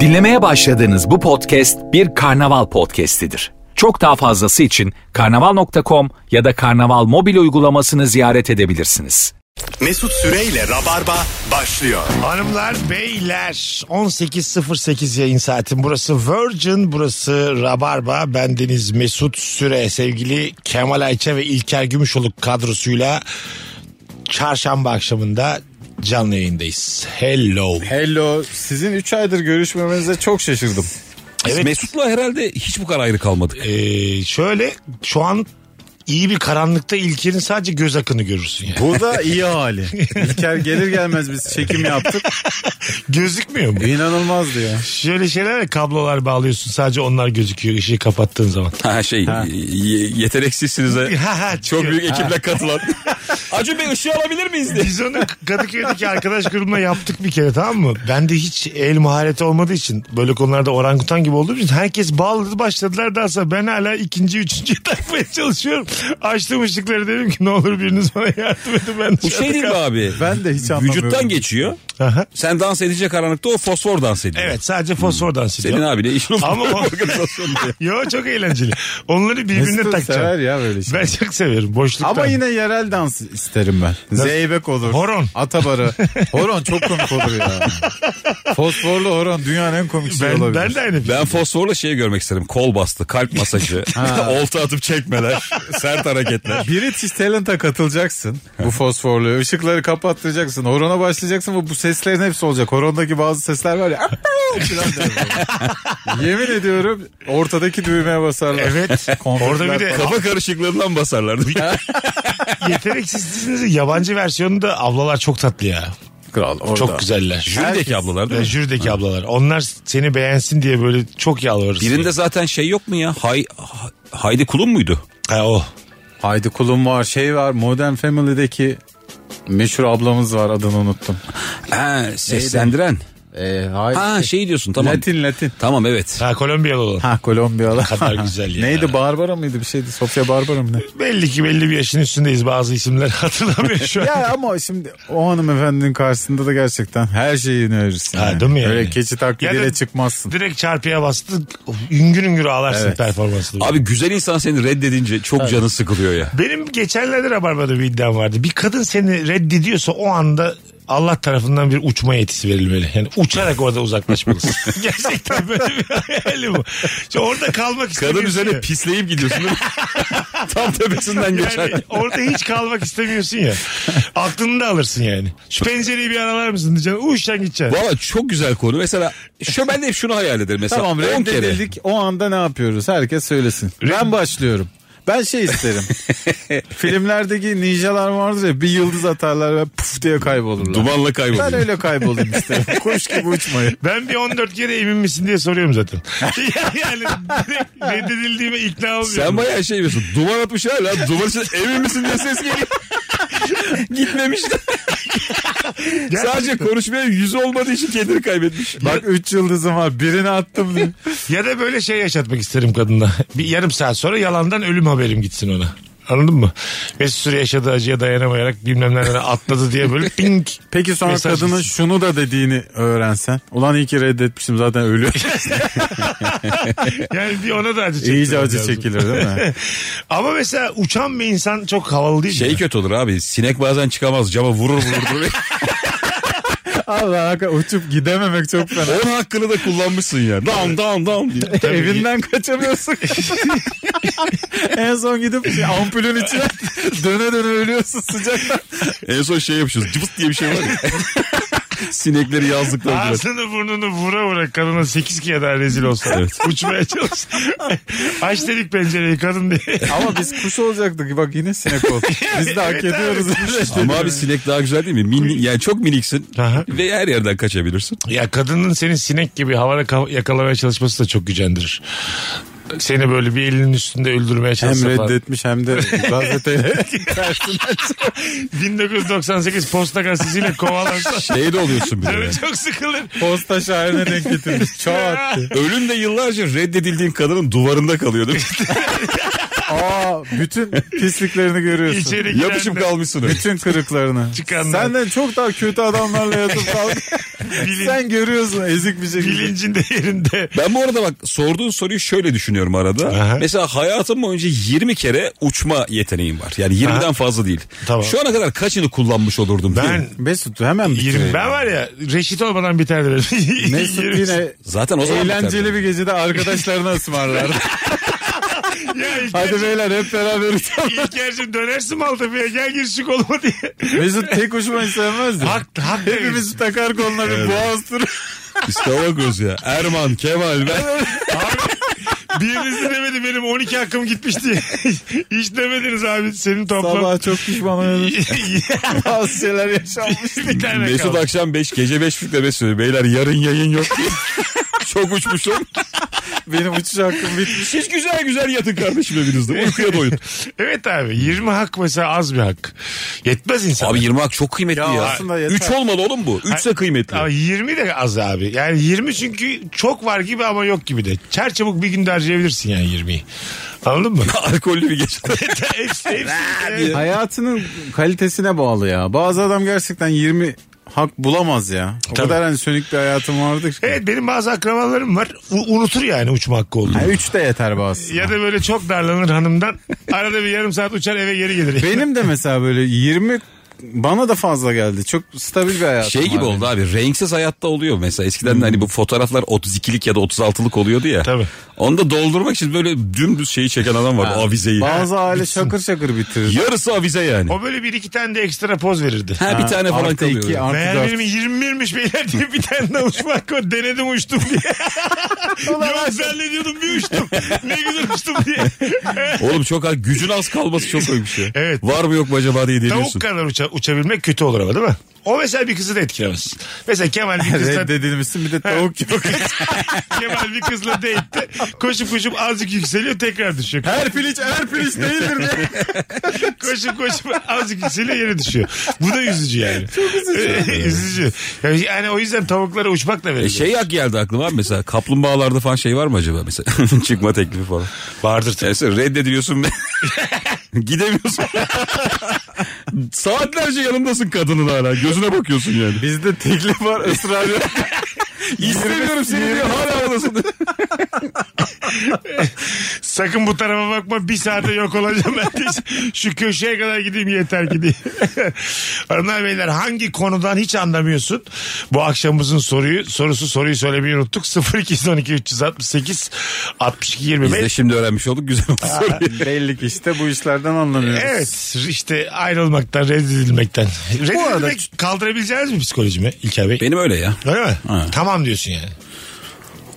Dinlemeye başladığınız bu podcast bir karnaval podcastidir. Çok daha fazlası için karnaval.com ya da karnaval mobil uygulamasını ziyaret edebilirsiniz. Mesut Süreyle Rabarba başlıyor. Hanımlar, beyler 18.08 yayın saatin burası Virgin, burası Rabarba. Bendeniz Mesut Süre, sevgili Kemal Ayça ve İlker Gümüşoluk kadrosuyla çarşamba akşamında canlı yayındayız. Hello. Hello. Sizin 3 aydır görüşmemenize çok şaşırdım. Evet. Mesut'la herhalde hiç bu kadar ayrı kalmadık. Ee, şöyle şu an iyi bir karanlıkta İlker'in sadece göz akını görürsün yani. Bu da iyi hali. İlker gelir gelmez biz çekim yaptık. Gözükmüyor E- mu? İnanılmazdı ya. Şöyle şeyler ya, kablolar bağlıyorsun sadece onlar gözüküyor ışığı kapattığın zaman. Ha şey y- yeteneksizsinize Ha, ha, çok çıkıyor. büyük ekiple katılan. Acun Bey ışığı alabilir miyiz diye. Biz onu Kadıköy'deki arkadaş grubuna yaptık bir kere tamam mı? Ben de hiç el mahareti olmadığı için böyle konularda orangutan gibi olduğum için herkes bağladı başladılar dansa ben hala ikinci üçüncü takmaya çalışıyorum. Açtım ışıkları dedim ki ne olur biriniz bana yardım edin ben Bu şey değil mi abi? Ben de hiç anlamıyorum. Vücuttan geçiyor. Aha. Sen dans edecek karanlıkta o fosfor dans ediyor. Evet sadece fosfor dans ediyor. Senin abi de işin Ama o- Yo çok eğlenceli. Onları birbirine Mesut sever takacağım. ya böyle şey. Ben çok severim boşluktan. Ama yine yerel dans isterim ben. Zeybek olur. Horon. Atabarı. Horon çok komik olur ya. Fosforlu horon dünyanın en komik şeyi ben, şey olabilir. ben de aynı. Ben fosforla şey görmek isterim. Kol bastı, kalp masajı, olta atıp çekmeler, sert hareketler. British Talent'a katılacaksın. Bu fosforlu. Işıkları kapattıracaksın. Horona başlayacaksın ve bu seslerin hepsi olacak. Horondaki bazı sesler var ya. falan diye böyle. Yemin ediyorum ortadaki düğmeye basarlar. Evet. Orada bir de Kafa karışıklığından basarlardı. yeteneksizliğinizin yabancı versiyonunda ablalar çok tatlı ya. Kral orada. Çok güzeller. Jürideki ablalar değil Ve mi? jürideki ablalar. Onlar seni beğensin diye böyle çok yalvarır. Birinde zaten şey yok mu ya? Hay, Ha- Haydi kulun muydu? Ha, o. Haydi kulum var şey var Modern Family'deki meşhur ablamız var adını unuttum. Ha, seslendiren. Ee, haydi. Ha şey diyorsun tamam. Latin Latin. Tamam evet. Ha Kolombiyalı olan. Ha Kolombiyalı. kadar güzel ya. Neydi Barbara mıydı bir şeydi Sofia Barbara mı ne? Belli ki belli bir yaşın üstündeyiz bazı isimler hatırlamıyor şu an. Ya ama şimdi o hanımefendinin karşısında da gerçekten her şeyi önerirsin. Ha, değil mi yani? Öyle keçi taklidiyle Ya da- çıkmazsın. Direkt çarpıya bastı. Üngür üngür ağlarsın Evet. performansını. Abi güzel insan seni reddedince çok canı sıkılıyor ya. Benim geçenlerde Rabarba'da bir iddiam vardı. Bir kadın seni reddediyorsa o anda Allah tarafından bir uçma yetisi verilmeli. Yani uçarak orada uzaklaşmalısın. Gerçekten böyle bir hayali bu. Şimdi orada kalmak Kadın istemiyorsun. üzerine şey- ya. pisleyip gidiyorsun değil mi? Tam tepesinden geçer. Yani orada hiç kalmak istemiyorsun ya. Aklını da alırsın yani. Şu pencereyi bir aralar mısın diyeceksin. Uçtan gideceksin. Valla çok güzel konu. Mesela şu ben de hep şunu hayal ederim. Mesela Tamam 10 kere. reddedildik o anda ne yapıyoruz herkes söylesin. Ben başlıyorum. Ben şey isterim. Filmlerdeki ninjalar vardır ya bir yıldız atarlar ve puf diye kaybolurlar. Dumanla Ben kayboluyor. öyle kaybolayım isterim. Kuş gibi uçmayı. Ben bir 14 kere emin misin diye soruyorum zaten. yani direkt reddedildiğime ikna Sen olmuyorum. bayağı şey diyorsun. Duman atmış hala. Duman için emin misin diye ses geliyor. Gitmemiş. Sadece konuşmaya yüzü olmadığı için kendini kaybetmiş. Bak üç yıldızım var birini attım diye. Ya da böyle şey yaşatmak isterim kadına. Bir yarım saat sonra yalandan ölüm haberim gitsin ona. Anladın mı? Mesut Süre yaşadığı acıya dayanamayarak bilmem nereden atladı diye böyle pink. Peki sonra Mesaj kadının gitsin. şunu da dediğini öğrensen. Ulan iyi ki reddetmişim zaten ölüyor. Yani bir ona da acı çekilir. İyice acı çekilir değil mi? Ama mesela uçan bir insan çok havalı değil mi? Şey kötü olur abi. Sinek bazen çıkamaz. Cama vurur vurur. vurur. Allah hakikaten uçup gidememek çok fena. Onun hakkını da kullanmışsın ya. Dam dam dam diye. Evinden kaçamıyorsun. en son gidip şey, ampulün içine döne döne ölüyorsun sıcaktan. En son şey yapmışız. Cıbıt diye bir şey var ya. Sinekleri yazdıkları üzere. Ağzını burnunu vura vura kadına 8 kere daha rezil olsa. Uçmaya çalış. Aç dedik pencereyi kadın diye. Ama biz kuş olacaktık. Bak yine sinek oldu. Biz de hak ediyoruz. Ama abi sinek daha güzel değil mi? Mini, yani çok miniksin Aha. ve her yerden kaçabilirsin. Ya kadının senin sinek gibi havada ka- yakalamaya çalışması da çok gücendirir. Seni böyle bir elinin üstünde öldürmeye hem çalışsa falan. reddetmiş hem de gazeteyle. 1998 posta gazetesiyle kovalansa. Şey de oluyorsun bir de. yani. Evet, çok sıkılır. Posta şairine denk getirmiş. Çoğalttı. Ölüm de yıllarca reddedildiğin kadının duvarında kalıyor değil mi? Aa, bütün pisliklerini görüyorsun. İçeri giren Yapışım de kalmışsın öyle. Bütün kırıklarını. Çıkanlar. Senden çok daha kötü adamlarla yatıp kalk. bilin- Sen görüyorsun ezik bir şekilde. bilincinde yerinde. Ben bu arada bak sorduğun soruyu şöyle düşünüyorum arada. Aha. Mesela hayatım boyunca 20 kere uçma yeteneğim var. Yani 20'den fazla değil. Tamam. Şu ana kadar kaçını kullanmış olurdum? değil Ben mi? Mesut hemen bitir. 20 ben var ya reşit olmadan biter dedim. Mesut Yirmi- yine Zaten o zaman biterdi. eğlenceli bir gecede arkadaşlarına ısmarlar. Ya İlker- Hadi beyler hep beraber uçalım. İlker'cim şey dönersin Maltepe'ye gel gir şu koluma diye. Mesut tek uçma istemezdi. Hak- hak- Hepimiz takar koluna bir boğaz turu. İstavakoz ya. Erman, Kemal ben. Birinizi demedi benim 12 hakkım gitmiş diye. Hiç demediniz abi senin toplam. Sabah çok pişman oldum. Bazı şeyler yaşanmış. bir tane Mesut kaldı. akşam 5 gece 5 buçukta söylüyor. Beyler yarın yayın yok diye. Çok uçmuşum. Benim uçuş hakkım bitmiş. Siz güzel güzel yatın kardeşim evinizde. Uykuya doyun. Evet abi 20 hak mesela az bir hak. Yetmez insan. Abi 20 hak çok kıymetli ya. Ya aslında yeter. 3 olmalı oğlum bu. 3 ise kıymetli. Ama 20 de az abi. Yani 20 çünkü çok var gibi ama yok gibi de. Çerçabuk bir günde harcayabilirsin yani 20'yi. Anladın mı? Alkollü bir gece. hepsi, hepsi, evet. Hayatının kalitesine bağlı ya. Bazı adam gerçekten 20 hak bulamaz ya. O Tabii. kadar hani sönük bir hayatım vardır ki. Evet, benim bazı akrabalarım var. U- unutur yani uçma hakkı olduğunu. Yani üç de yeter bazı. Ya da böyle çok darlanır hanımdan. Arada bir yarım saat uçar eve geri gelir. Benim de mesela böyle 20 bana da fazla geldi. Çok stabil bir hayatım Şey gibi var oldu abi renksiz hayatta oluyor mesela eskiden de hani bu fotoğraflar 32'lik ya da 36'lık oluyordu ya. Tabii. Onu da doldurmak için böyle dümdüz şeyi çeken adam vardı avizeyi. Bazı aile şakır şakır bitirir. Yarısı avize yani. O böyle bir iki tane de ekstra poz verirdi. Ha, bir tane falan Artı kalıyor. iki, artı Meğer dört. benim 21'miş beyler diye bir tane de uçmak var. Denedim uçtum diye. Yok zannediyordum bir uçtum. Ne güzel uçtum diye. Oğlum çok az gücün az kalması çok öyle bir şey. Evet. Var mı yok mu acaba diye Tavuk deniyorsun. kadar uça- uçabilmek kötü olur ama değil mi? O mesela bir kızı da etkilemez. Mesela Kemal bir kızla, Reddedilmişsin bir de tavuk yok. Kemal bir kızla date'te koşup koşup azıcık yükseliyor tekrar düşüyor. her piliç her piliç değildir diye. koşup koşup azıcık yükseliyor yere düşüyor. Bu da üzücü yani. Çok üzücü. üzücü. Yani, yani o yüzden tavuklara uçmak da E verilir. şey hak geldi aklıma abi mesela kaplumbağalarda falan şey var mı acaba mesela çıkma teklifi falan. Vardır Yani sen reddediliyorsun ve gidemiyorsun. Saatlerce yanındasın kadının hala gözüne bakıyorsun yani. Bizde teklif var ısrar yok. İstemiyorum seni diyor hala oradasın. Sakın bu tarafa bakma bir saate yok olacağım ben de. Şu köşeye kadar gideyim yeter ki diye. Hanımlar beyler hangi konudan hiç anlamıyorsun? Bu akşamımızın soruyu sorusu soruyu söylemeyi unuttuk. 0212 368 62 20. Biz de şimdi öğrenmiş olduk güzel oldu soruyu. Belli ki işte bu işlerden anlamıyoruz. Evet işte ayrılmaktan reddedilmekten. arada- Reddedilmek kaldırabileceğiniz mi psikolojimi İlker Bey? Benim öyle ya. Öyle mi? Ha. Tamam diyorsun yani.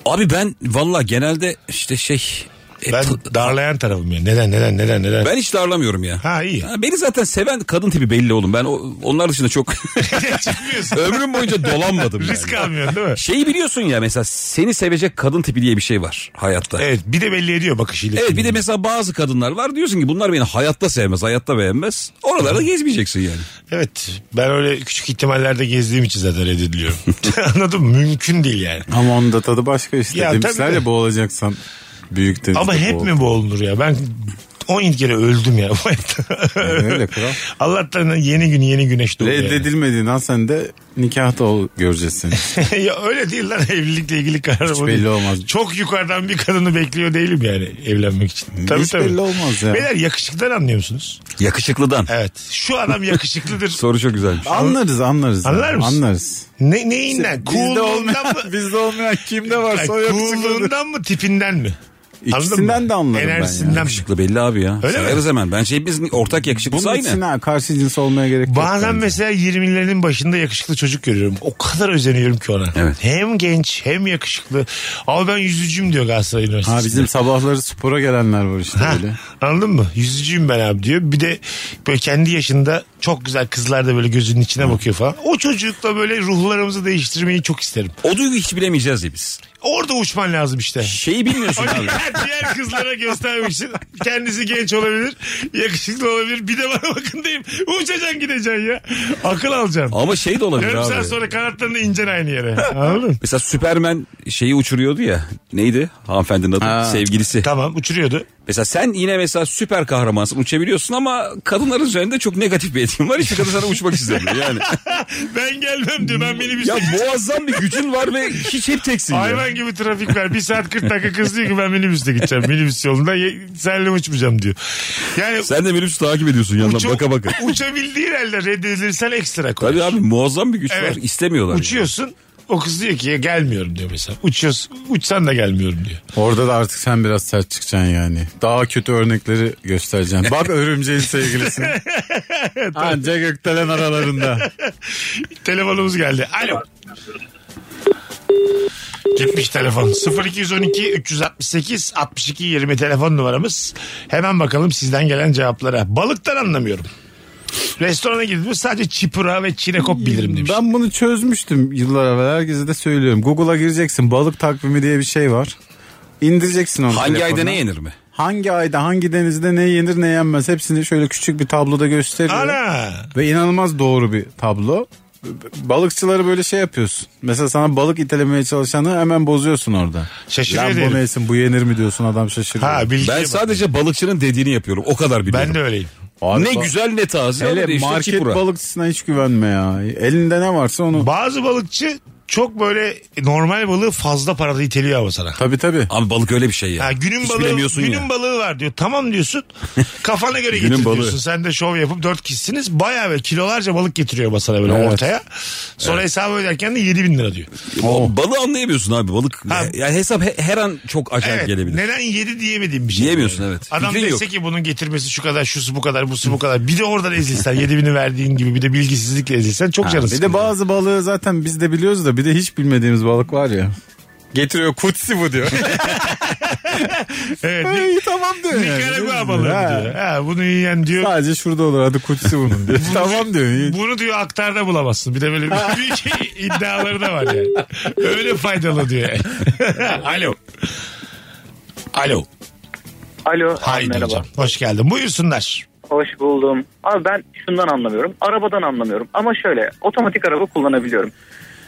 Abi ben valla genelde işte şey... e, Ben ta- darlayan tarafım ya. Neden neden neden neden? ben hiç darlamıyorum ya. Ha iyi. Ha, beni zaten seven kadın tipi belli oğlum. Ben o- onlar dışında çok Çıkmıyorsun. ömrüm boyunca dolanmadım yani. Risk almıyorsun değil mi? Şeyi biliyorsun ya mesela seni sevecek kadın tipi diye bir şey var hayatta. Evet. Evet bir de belli ediyor bakışıyla. bir de mesela bazı kadınlar var diyorsun ki bunlar beni hayatta sevmez, hayatta beğenmez. Oralarda gezmeyeceksin yani. Evet ben öyle küçük ihtimallerde gezdiğim için zaten reddediliyorum. Anladın mı? Mümkün değil yani. Ama onun da tadı başka işte. Ya Demişler tabii de. ya boğulacaksan büyük denizde Ama hep boğul. mi boğulur ya? Ben 10 kere öldüm ya. bu hayatta. öyle kral. Allah'tan yeni gün yeni güneş doğuyor. yani. Reddedilmediğin an sen de nikahta ol göreceğiz seni. ya öyle değil lan evlilikle ilgili karar Hiç bu belli değil. olmaz. Çok yukarıdan bir kadını bekliyor değilim yani evlenmek için. Tabii Hiç tabii. belli olmaz ya. Beyler yakışıklıdan anlıyor musunuz? Yakışıklıdan. Evet. Şu adam yakışıklıdır. Soru çok güzelmiş. Anlarız anlarız. ya, Anlar mısın? Anlarız. ne, neyinden? Bizde Cool'luğundan olmayan, mı? bizde olmayan kimde Ay, varsa o yakışıklıdır. Cool'luğundan mı tipinden mi? Anladın mı? İkisinden de anlarım ben ya. Enerjisinden mi? Yakışıklı belli abi ya. Öyle mi? Severiz hemen. Bence hepimizin ortak Bunun yakışıklısı için aynı. ha, karşı cins olmaya gerek yok. Bazen bence. mesela 20'lerin başında yakışıklı çocuk görüyorum. O kadar özeniyorum ki ona. Evet. Hem genç hem yakışıklı. Ama ben yüzücüyüm diyor Galatasaray Üniversitesi. Ha bizim sabahları spora gelenler var işte Ha, böyle. anladın mı? Yüzücüyüm ben abi diyor. Bir de böyle kendi yaşında çok güzel kızlar da böyle gözünün içine bakıyor falan. O çocukla böyle ruhlarımızı değiştirmeyi çok isterim. O duyguyu hiç bilemeyeceğiz ya biz. Orada uçman lazım işte. Şeyi bilmiyorsun O abi. diğer- diğer kızlara göstermek için kendisi genç olabilir, yakışıklı olabilir. Bir de bana bakın diyeyim. Uçacaksın gideceksin ya. Akıl alacaksın. Ama şey de olabilir Yarım abi. saat sonra kanatlarını incen aynı yere. Anladın mı? Mesela Superman şeyi uçuruyordu ya. Neydi hanımefendinin adı? Ha. Sevgilisi. Tamam uçuruyordu. Mesela sen yine mesela süper kahramansın uçabiliyorsun ama kadınların üzerinde çok negatif bir etkin var. Hiçbir kadın sana uçmak istemiyor yani. Ben gelmem diyor ben minibüste ya muazzam bir gücün var ve hiç hep teksin. ya. Hayvan gibi trafik var. Bir saat 40 dakika kız diyor ki ben minibüste gideceğim. Minibüs yolunda ye- senle uçmayacağım diyor. Yani Sen de minibüsü takip ediyorsun yanına uça- baka baka. uçabildiğin halde reddedilirsen ekstra koy. Tabii abi muazzam bir güç Evet. var. İstemiyorlar. yani. Uçuyorsun o kız diyor ki "Ya gelmiyorum diyor mesela. Uçuyorsun uçsan da gelmiyorum diyor. Orada da artık sen biraz sert çıkacaksın yani. Daha kötü örnekleri göstereceksin. Bak örümceğin sevgilisi. Anca gökdelen aralarında. Telefonumuz geldi. Alo. Gitmiş telefon. 0212 368 62 20 telefon numaramız. Hemen bakalım sizden gelen cevaplara. Balıktan anlamıyorum. Restorana gidip sadece çipura ve çinekop bilirim demiş. Ben bunu çözmüştüm yıllar evvel. Herkese de söylüyorum. Google'a gireceksin. Balık takvimi diye bir şey var. İndireceksin onu. Hangi telefonuna. ayda ne yenir mi? Hangi ayda hangi denizde ne yenir ne yenmez hepsini şöyle küçük bir tabloda gösteriyor. Ana. Ve inanılmaz doğru bir tablo. Balıkçıları böyle şey yapıyorsun. Mesela sana balık itelemeye çalışanı hemen bozuyorsun orada. Şaşırıyor Lan diyelim. bu neysin bu yenir mi diyorsun adam şaşırıyor. Ha bilgi. Ben Ben, sadece balıkçının dediğini yapıyorum. O kadar biliyorum. de öyleyim. Abi ne bak- güzel ne taze. ama Hele işte market çipura. balıkçısına hiç güvenme ya. Elinde ne varsa onu. Bazı balıkçı çok böyle normal balığı fazla parada iteliyor ama sana. Tabii tabii. Abi balık öyle bir şey ya. Ha, günün Hiç balığı, bilemiyorsun günün ya. balığı var diyor. Tamam diyorsun. Kafana göre Günün getir balığı. diyorsun. Sen de şov yapıp dört kişisiniz. Bayağı böyle kilolarca balık getiriyor masana böyle Evet. ortaya. Sonra hesabı öderken de yedi bin lira diyor. O Balığı anlayamıyorsun abi balık. Oh. Ha. Yani hesap he- her an çok acayip Evet. gelebilir. Neden yedi diyemediğim bir şey. Diyemiyorsun, Yani. evet. Adam Fikrin dese yok. ki bunun getirmesi şu kadar, şusu bu kadar, busu bu kadar. Bir de oradan ezilsen, yedi bini verdiğin gibi bir de bilgisizlikle ezilsen çok canın Bir de sıkılır. bazı balığı zaten biz de biliyoruz da bir de hiç bilmediğimiz balık var ya. Getiriyor kutsi bu diyor. Evet. Ni- İyi tamam diyor. yani. Nikaragua balığı Ha. diyor. Ha, bunu yiyen diyor. Sadece şurada olur hadi kutsi bunun diyor. tamam diyor. İyi. Bunu diyor aktarda bulamazsın. Bir de böyle büyük iddiaları da var yani. Öyle faydalı diyor. yani. Alo. Alo. Alo. Haydi merhaba. hocam. Hoş geldin. Buyursunlar. Hoş buldum. Abi ben şundan anlamıyorum. Arabadan anlamıyorum. Ama şöyle otomatik araba kullanabiliyorum.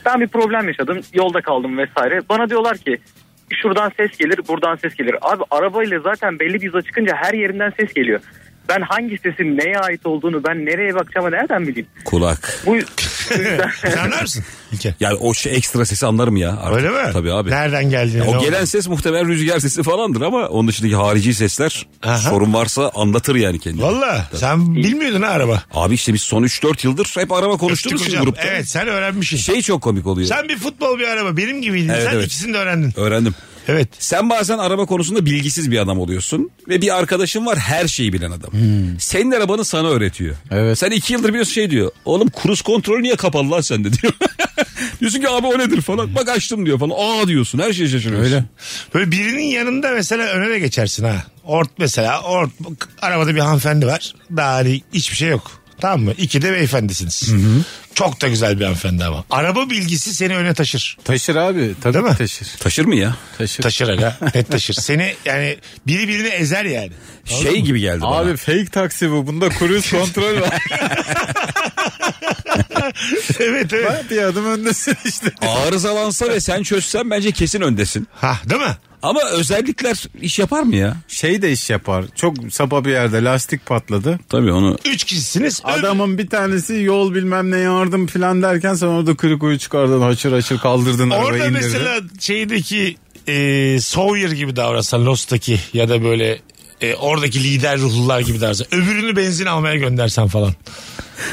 Ben bir problem yaşadım. Yolda kaldım vesaire. Bana diyorlar ki şuradan ses gelir buradan ses gelir. Abi arabayla zaten belli bir hıza çıkınca her yerinden ses geliyor. Ben hangi sesin neye ait olduğunu ben nereye bakacağımı nereden bileyim? Kulak. Bu Sen anlar mısın? İlke. Yani o şey ekstra sesi anlarım ya. Artık. Öyle mi? Tabii abi. Nereden geldiğini. ne O gelen olduğunu. ses muhtemelen rüzgar sesi falandır ama onun dışındaki harici sesler Aha. sorun varsa anlatır yani kendini. Valla sen bilmiyordun ha araba. Abi işte biz son 3-4 yıldır hep araba konuştuğumuz Öptük için hocam. grupta. Evet sen öğrenmişsin. Şey çok komik oluyor. Sen bir futbol bir araba benim gibiydin. Evet, sen evet. ikisini de öğrendin. Öğrendim. Evet. Sen bazen araba konusunda bilgisiz bir adam oluyorsun ve bir arkadaşın var her şeyi bilen adam. Hmm. Senin arabanı sana öğretiyor. Evet. Sen iki yıldır biliyorsun şey diyor. Oğlum kruz kontrolü niye kapalı lan sende diyor. diyorsun ki abi o nedir falan. Bak açtım diyor falan. Aa diyorsun her şeye şaşırıyorsun. Öyle. Böyle birinin yanında mesela öne de geçersin ha. Ort mesela ort arabada bir hanımefendi var. Daha hani hiçbir şey yok. Tamam mı? İki de beyefendisiniz. Çok da güzel bir hanımefendi ama. Araba bilgisi seni öne taşır. Taşır abi. Tabii Değil mi? Taşır. Taşır mı ya? Taşır. Taşır aga. Net taşır. Seni yani biri birini ezer yani. şey gibi geldi bana. Abi fake taksi bu. Bunda cruise kontrol var. evet evet. bir adım öndesin işte. Arızalansa ve sen çözsen bence kesin öndesin. Ha değil mi? Ama özellikler iş yapar mı ya? Şey de iş yapar. Çok sapa bir yerde lastik patladı. Tabii onu. Üç kişisiniz. Öbür- Adamın bir tanesi yol bilmem ne yardım filan derken sen orada kırık uyu çıkardın haşır haşır kaldırdın arabayı Orada indirdin. mesela şeydeki e, Sawyer gibi davransan Lost'taki ya da böyle e, oradaki lider ruhlular gibi davransan. Öbürünü benzin almaya göndersen falan.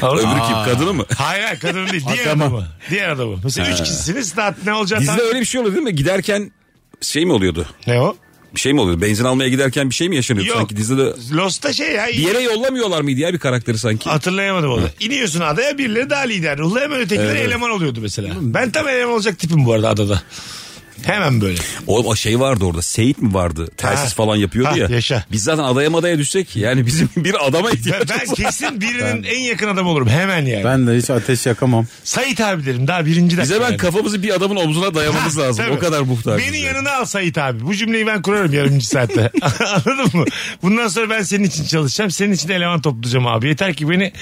Öbür kim kadını mı? Hayır hayır kadın değil. Diğer Adama. adamı. Diğer adamı. Mesela üç kişisiniz daha ne olacağı Bizde tam- öyle bir şey oluyor değil mi? Giderken şey mi oluyordu? Ne o? Bir şey mi oluyordu? Benzin almaya giderken bir şey mi yaşanıyordu? Yok. Sanki dizide de Lost'ta şey ya. bir yere yollamıyorlar mıydı ya bir karakteri sanki? Hatırlayamadım onu. İniyorsun adaya birileri daha lider. Ruhlu hemen ötekileri eleman oluyordu mesela. Ben tam eleman olacak tipim bu arada adada. Hemen böyle. O, o şey vardı orada. Seyit mi vardı? Telsiz Ha. falan yapıyordu Ha, ya. yaşa. Biz zaten adaya madaya düşsek yani bizim bir adama Ben, ihtiyacımız ben var. kesin birinin en yakın adamı olurum. Hemen yani. Ben de hiç ateş yakamam. Sait abi derim daha birinci dakika. Bize ben yani. kafamızı bir adamın omzuna dayamamız lazım. Tabii. O kadar muhtaç. Beni yanına al Sait abi. Bu cümleyi ben kurarım yarımcı saatte. Anladın mı? Bundan sonra ben senin için çalışacağım. Senin için de eleman toplayacağım abi. Yeter ki beni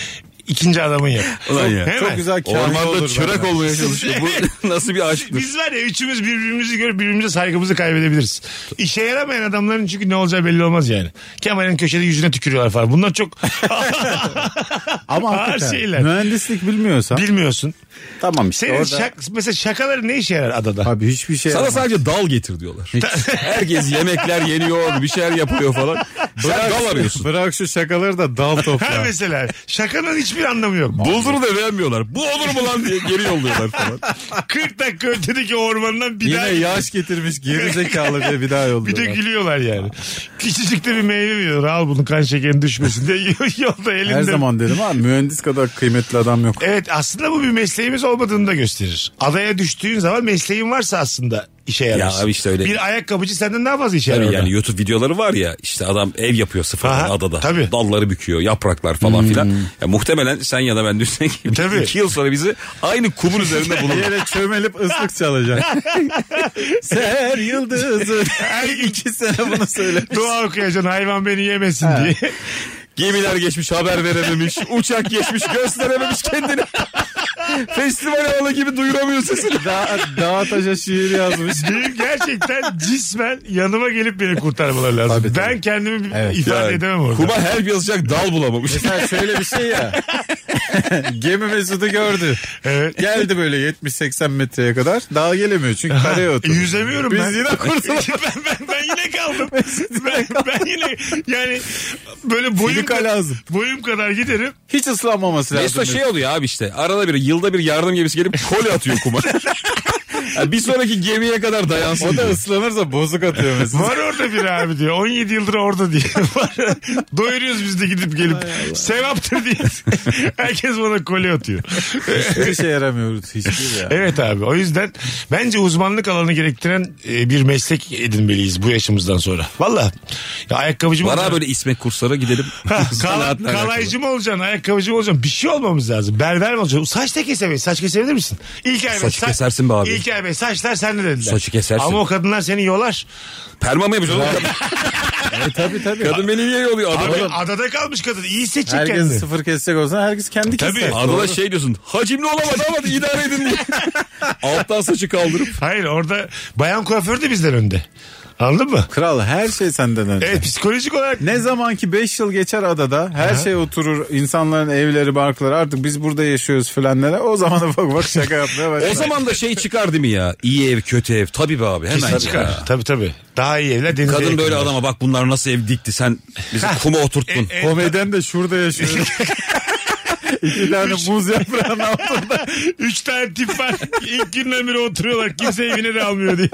ikinci adamın yok. Ulan ya. Hemen. Çok güzel kâhil Ormanda olur çırak benden. olmaya çalışıyor. Bu nasıl bir aşktır? Biz var ya üçümüz birbirimizi görüp birbirimize saygımızı kaybedebiliriz. İşe yaramayan adamların çünkü ne olacağı belli olmaz yani. Kemal'in köşede yüzüne tükürüyorlar falan. Bunlar çok Ama Ağır hakikaten şeyler. mühendislik bilmiyorsan bilmiyorsun. tamam işte Senin orada. şak, mesela şakaları ne işe yarar adada? Abi hiçbir şey Sana yaramaz. sadece dal getir diyorlar. Herkes yemekler yeniyor, bir şeyler yapıyor falan. Sen dal arıyorsun. Bırak şu şakaları da dal Ha topla. mesela şakanın hiçbir anlamı yok. Bulduğunu da beğenmiyorlar. Bu olur mu lan diye geri yolluyorlar falan. 40 dakika ötedeki ormandan bir daha Yine yaş getirmiş geri zekalı diye bir daha bir de yolluyorlar. gülüyorlar yani. Küçücük de bir meyve veriyorlar. Al bunu kan şekerin düşmesin diye yolda elinde. Her zaman dedim abi mühendis kadar kıymetli adam yok. Evet aslında bu bir mesleğimiz olmadığını da gösterir. Adaya düştüğün zaman mesleğin varsa aslında işe yarar. abi işte öyle. Bir ayakkabıcı senden daha fazla işe yarar. Tabii orada. yani YouTube videoları var ya işte adam ev yapıyor sıfırdan Aha, adada. tabii. Dalları büküyor, yapraklar falan filan. Ya muhtemelen sen ya da ben düşsek Tabii. iki yıl sonra bizi aynı kumun üzerinde Bir bulur. yere çömelip ıslık çalacak. Ser yıldızı. Her gün İki sene bunu söyle. dua okuyacaksın hayvan beni yemesin diye. Gemiler geçmiş haber verememiş. Uçak geçmiş gösterememiş kendini. Festival havalı gibi duyuramıyor sesini. Dağ, dağ taşa şiir yazmış. Benim gerçekten cismen yanıma gelip beni kurtarmaları lazım. Tabii, tabii. Ben kendimi Evet, ifade edemem orada. Kuba her yazacak dal bulamamış. Mesela şöyle bir şey ya. Gemi Mesut'u gördü. Evet. Geldi böyle 70-80 metreye kadar. Daha gelemiyor çünkü karaya E, oturuyor. Yüzemiyorum Biz ben. yine kurtulamadık. ben, ben, ben yine kaldım. ben, ben yine yani böyle boyum, Filika lazım. boyum kadar giderim. Hiç ıslanmaması lazım. Mesut şey oluyor abi işte arada bir yılda bir yardım gemisi gelip kolye atıyor kuma. Ya bir sonraki gemiye kadar dayansın. O da diyor. ıslanırsa bozuk atıyor Mesut. Var orada bir abi diyor. 17 yıldır orada diye. Var. Doyuruyoruz biz de gidip gelip. Sevaptır diye. Herkes bana kolye atıyor. Hiçbir şey yaramıyoruz. Hiçbir ya. Evet abi o yüzden bence uzmanlık alanı gerektiren e, bir meslek edinmeliyiz bu yaşımızdan sonra. Valla. Ya ayakkabıcı mı Var abi olacaksın? böyle İsmet Kursar'a gidelim. Ha, Sanatla Kal, alakalı. kalaycı mı olacaksın? Ayakkabıcı mı olacaksın? Bir şey olmamız lazım. Berber mi olacaksın? Saç da kesemeyiz. Saç kesebilir misin? İlker Bey, Saç sa- kesersin be abi. İlker Bey saçlar sende dediler. Saçı kesersin. Ama o kadınlar seni yolar. Permama yapacağız oğlum. E, tabii tabii. Kadın beni niye yolluyor? Abi, Adada, adada kalmış kadın. İyi seçecek Herkes kendini. sıfır kesecek olsa herkes kendi Tabii. keser. adada şey diyorsun. Hacimli olamadı ama idare edin diye. Alttan saçı kaldırıp. Hayır orada bayan kuaför de bizden önde. Anladın mı? Kral her şey senden önce. Evet psikolojik olarak Ne zaman ki 5 yıl geçer adada her şey oturur insanların evleri barkları artık biz burada yaşıyoruz filanlara o zaman da bak bak şaka yapmaya başlar. O zaman da şey çıkar değil mi ya? İyi ev kötü ev. Tabii be abi hemen kesin çıkar. çıkar. Tabii tabii. Daha iyi evler denize Kadın böyle yakınlar. adama bak bunlar nasıl ev dikti sen bizi kuma oturttun. E, e, komedyen de şurada yaşıyor. İki tane muz yaprağının altında. Üç tane tip var. İlk günden beri oturuyorlar. Kimse evine de almıyor diye.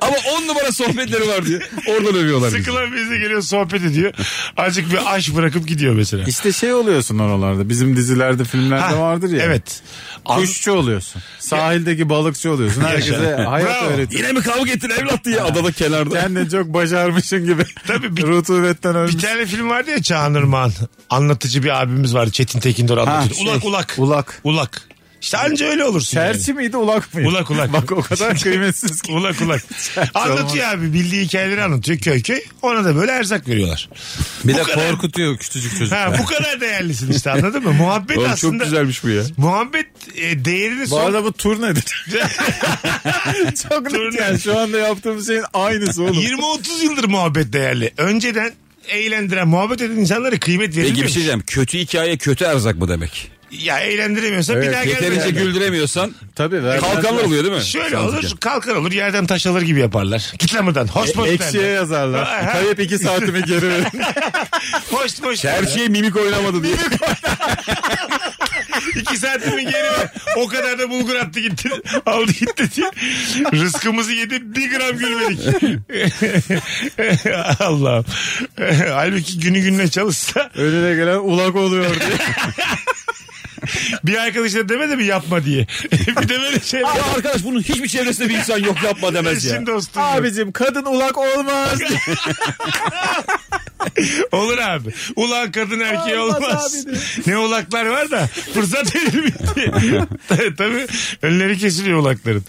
Ama on numara sohbetleri var diye. Oradan övüyorlar bizi. Sıkılan birisi geliyor sohbet ediyor. Azıcık bir aş bırakıp gidiyor mesela. İşte şey oluyorsun oralarda bizim dizilerde filmlerde Ha, vardır ya. Evet. Kuşçu oluyorsun. Sahildeki balıkçı oluyorsun. Herkese Yaşa. hayat Bravo. öğretiyorsun. Yine mi kavga ettin evlat diye adada kenarda. Kendini çok başarmışsın gibi. Tabii bir- Rutubetten ölmüş. Bir tane film vardı ya Çağan Irmak'ın. Anlatıcı bir abimiz vardı. Çetin Tekindor anlatıyordu. şey, ulak ulak. ulak. Ulak. İşte anca öyle olursun. yani. Çerçi miydi ulak mıydı? Ulak ulak. Bak o kadar kıymetsiz ki. Ulak ulak. anlatıyor abi. Bildiği hikayeleri anlatıyor köy köy. Ona da böyle erzak veriyorlar. Bir Bu kadar- korkutuyor küçücük çocuk. Ha, bu kadar değerlisin işte anladın mı? Muhabbet Oğlum aslında. çok güzelmiş bu ya. Muhabbet e, değerini Bu son... arada bu tur nedir? Çok Tur ne? net yani şu anda yaptığım şeyin aynısı oğlum. 20-30 yıldır muhabbet değerli. Önceden eğlendiren, muhabbet eden insanlara kıymet Peki bir şey verilmiyor. diyeceğim. Kötü hikaye kötü erzak mı demek? Ya eğlendiremiyorsa bir daha Yeterince gelmez. güldüremiyorsan Tabii ver. kalkanlar oluyor değil mi? Şöyle Sanatçı. olur, kalkar olur, yerden taş alır gibi yaparlar. Kitlemeden, E, hoş moş Eksiye derler. yazarlar. Kayıp iki saatimi geri verin. Hoş moş derler. Tercihe mimik oynamadı diye. İki saatimi geri ver. O kadar da bulgur attı gitti. Aldı gitti diye. Rızkımızı yedi bir gram gülmedik. Allah'ım. Halbuki günü gününe çalışsa Önüne gelen ulak oluyor diye. bir arkadaşına demedi mi yapma diye. bir de böyle şey şeyler. Ya arkadaş bunun hiçbir çevresinde bir insan yok yapma demez ya. Eşin dostum. Abi. Abicim kadın ulak olmaz. Olur abi. Ulan kadın erkeği Olmaz olmaz. abi de. Ne ulaklar var da fırsat verilmiyor diye. Ta- Tabii önleri kesiliyor ulakların.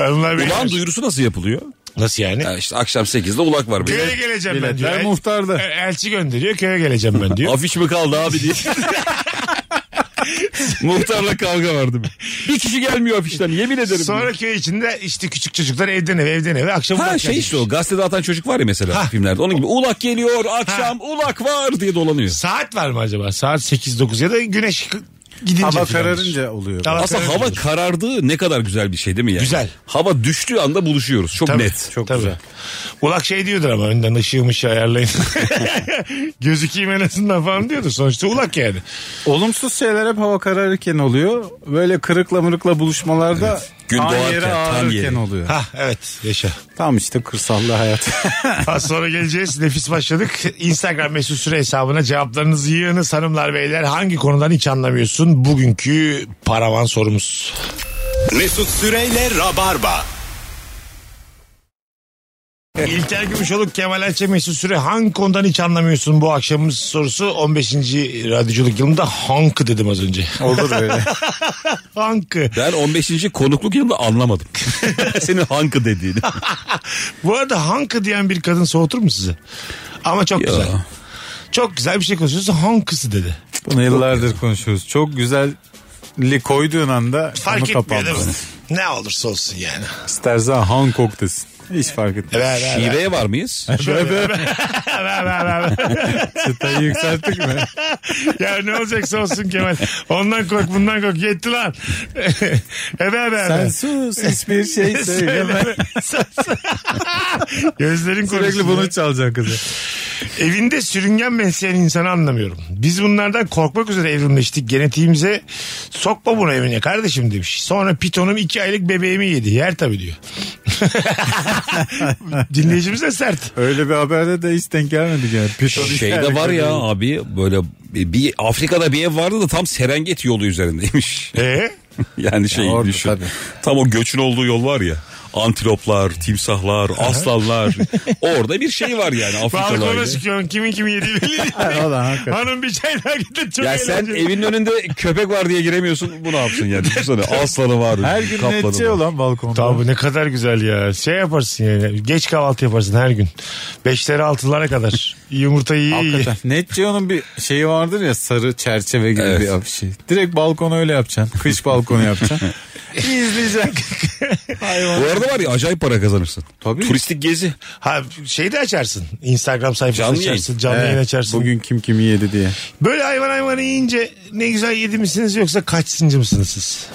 Onlar Ulan duyurusu nasıl yapılıyor? Nasıl yani? Ya işte akşam 8'de ulak var. Köye Böyle. geleceğim ben diyor. Biletler El- muhtarda. E, Elçi gönderiyor köye geleceğim ben diyor. Afiş mi kaldı abi diye. Muhtarla kavga vardı. bir. Bir kişi gelmiyor afişten yemin ederim. Sonra köy içinde işte küçük çocuklar evden eve evden eve akşam Ha ulak şey gelecek. işte o gazetede atan çocuk var ya mesela filmlerde. Onun gibi ulak geliyor akşam ulak var diye dolanıyor. Saat var mı acaba? Saat 8-9 ya da güneş k- gidince. Hava filandır. kararınca oluyor. Hava Aslında kararınca hava olur. karardığı ne kadar güzel bir şey değil mi yani? Güzel. Hava düştüğü anda buluşuyoruz. Çok Tabii, net. Çok güzel. Ulak şey diyordur ama önden ışığı ışığı ayarlayın. Gözükeyim en azından falan diyordur. Sonuçta ulak yani. Olumsuz şeyler hep hava kararırken oluyor. Böyle kırıkla mırıkla buluşmalarda Gün tam doğarken, yere tam ağırırken yere. oluyor. Ha evet yaşa. Tam işte kırsallı hayat. Az sonra geleceğiz. Nefis başladık. Instagram mesut süre hesabına cevaplarınızı yığınız hanımlar beyler. Hangi konudan hiç anlamıyorsun? Bugünkü paravan sorumuz. Mesut Süreyle Rabarba. İlker Gümüşoluk, Kemal Ayça, Mesut Süre hangi konudan hiç anlamıyorsun bu akşamımız sorusu 15. radyoculuk yılında hankı dedim az önce. Olur böyle. Hankı. Ben 15. konukluk yılında anlamadım. Senin hankı dediğini. Bu arada hankı diyen bir kadın soğutur mu sizi? Ama çok Ya. güzel. Çok güzel bir şey konuşuyorsun hankısı dedi. Bunu yıllardır konuşuyoruz. Çok güzellik koyduğun anda Fark onu etmiyor değil mi? kapandı. Ne olursa olsun yani. İstersen Hancock desin. Hiç fark etmez. Ver ver ver. Şiveye var mıyız? ver, ver, ver. Çıtayı yükselttik mi? ya ne olacaksa olsun Kemal. Ondan kork bundan kork. Yetti lan. Ebe ebe Sen ebe. sus hiçbir şey söyleme. Gözlerin Sürekli konuşsun ya. bunu çalacaksın kızı. Evinde sürüngen besleyen insanı anlamıyorum. Biz bunlardan korkmak üzere evrimleştik. Genetiğimize sokma bunu evine kardeşim demiş. Sonra pitonum iki aylık bebeğimi yedi. Yer tabii diyor. Dinleyicimiz de sert. Öyle bir haberde de hiç denk gelmedik yani. Piton Şeyde şey var ya abi böyle bir Afrika'da bir ev vardı da tam Serengeti yolu üzerindeymiş. Ee? Yani şey orada düşün. tabii. Tam o göçün olduğu yol var ya. Antiloplar, timsahlar, aslanlar. Orada bir şey var yani Balkona Afrikalarda. çıkıyorsun kimin kimi yediği belli değil. o da hakikaten. Hanım bir çay daha getir çok Ya sen eğlenceli. evinin önünde köpek var diye giremiyorsun. Bu ne yapsın yani? Düşünsene aslanı var. Her gün kaplanı netçe var. olan balkonda. Tabii ne kadar güzel ya. Şey yaparsın yani. Geç kahvaltı yaparsın her gün. Beşlere altılara kadar. Yumurtayı iyi iyi. Hakikaten. Netgeo'nun bir şeyi vardır ya sarı çerçeve gibi Evet. bir şey. Direkt balkona öyle yapacaksın. Kış balkonu yapacaksın. İzleyeceksin. Bu arada var ya acayip para kazanırsın. Tabii. Turistik gezi. Ha, şey de açarsın. Instagram sayfası Canlı yayın. açarsın. Canlı yayın Evet, açarsın. Bugün kim kimi yedi diye. Böyle hayvan hayvanı yiyince ne güzel yedi misiniz yoksa kaçsıncı mısınız siz?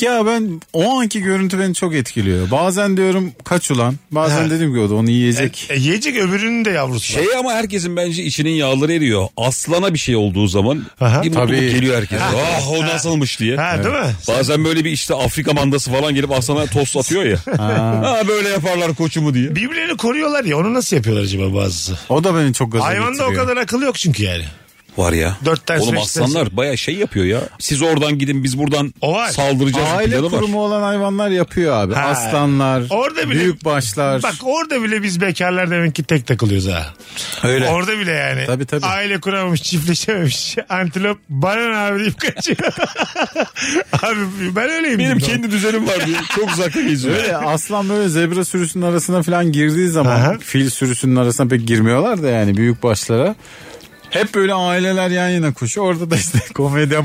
Ya ben o anki görüntü beni çok etkiliyor. Bazen diyorum kaç ulan. Bazen Ha. dedim ki o da onu yiyecek. E, yiyecek öbürünün de yavrusu. var. Şey ama herkesin bence içinin yağları eriyor. Aslana bir şey olduğu zaman Aha. bir mutluluk Tabii. geliyor herkese. Ah o nasılmış diye. ha değil mi? Bazen böyle bir işte Afrika mandası falan gelip aslana tost atıyor ya. ha böyle yaparlar koçumu diye. Birbirlerini koruyorlar ya onu nasıl yapıyorlar acaba bazısı? O da beni çok gaza Hayvanda o getiriyor. kadar akıl yok çünkü yani. Var ya. Dört ters, Oğlum beş ters. aslanlar baya şey yapıyor ya. Siz oradan gidin biz buradan O var. saldıracağız. bir Aile planı var. kurumu olan hayvanlar yapıyor abi. Ha. Aslanlar, Orada bile- büyük başlar. Bak orada bile biz bekarlar demek ki tek takılıyoruz ha. Öyle. Orada bile yani. Tabii, tabii. Aile kuramamış, çiftleşememiş. Antilop bana ne abi deyip kaçıyor. abi ben öyleyim. Benim dedim. kendi düzenim var diye çok uzakta geziyor. Öyle E, aslan böyle zebra sürüsünün arasına falan girdiği zaman Aha. fil sürüsünün arasına pek girmiyorlar da yani büyük başlara. Hep böyle aileler yan yana koşuyor. Orada da işte komedyen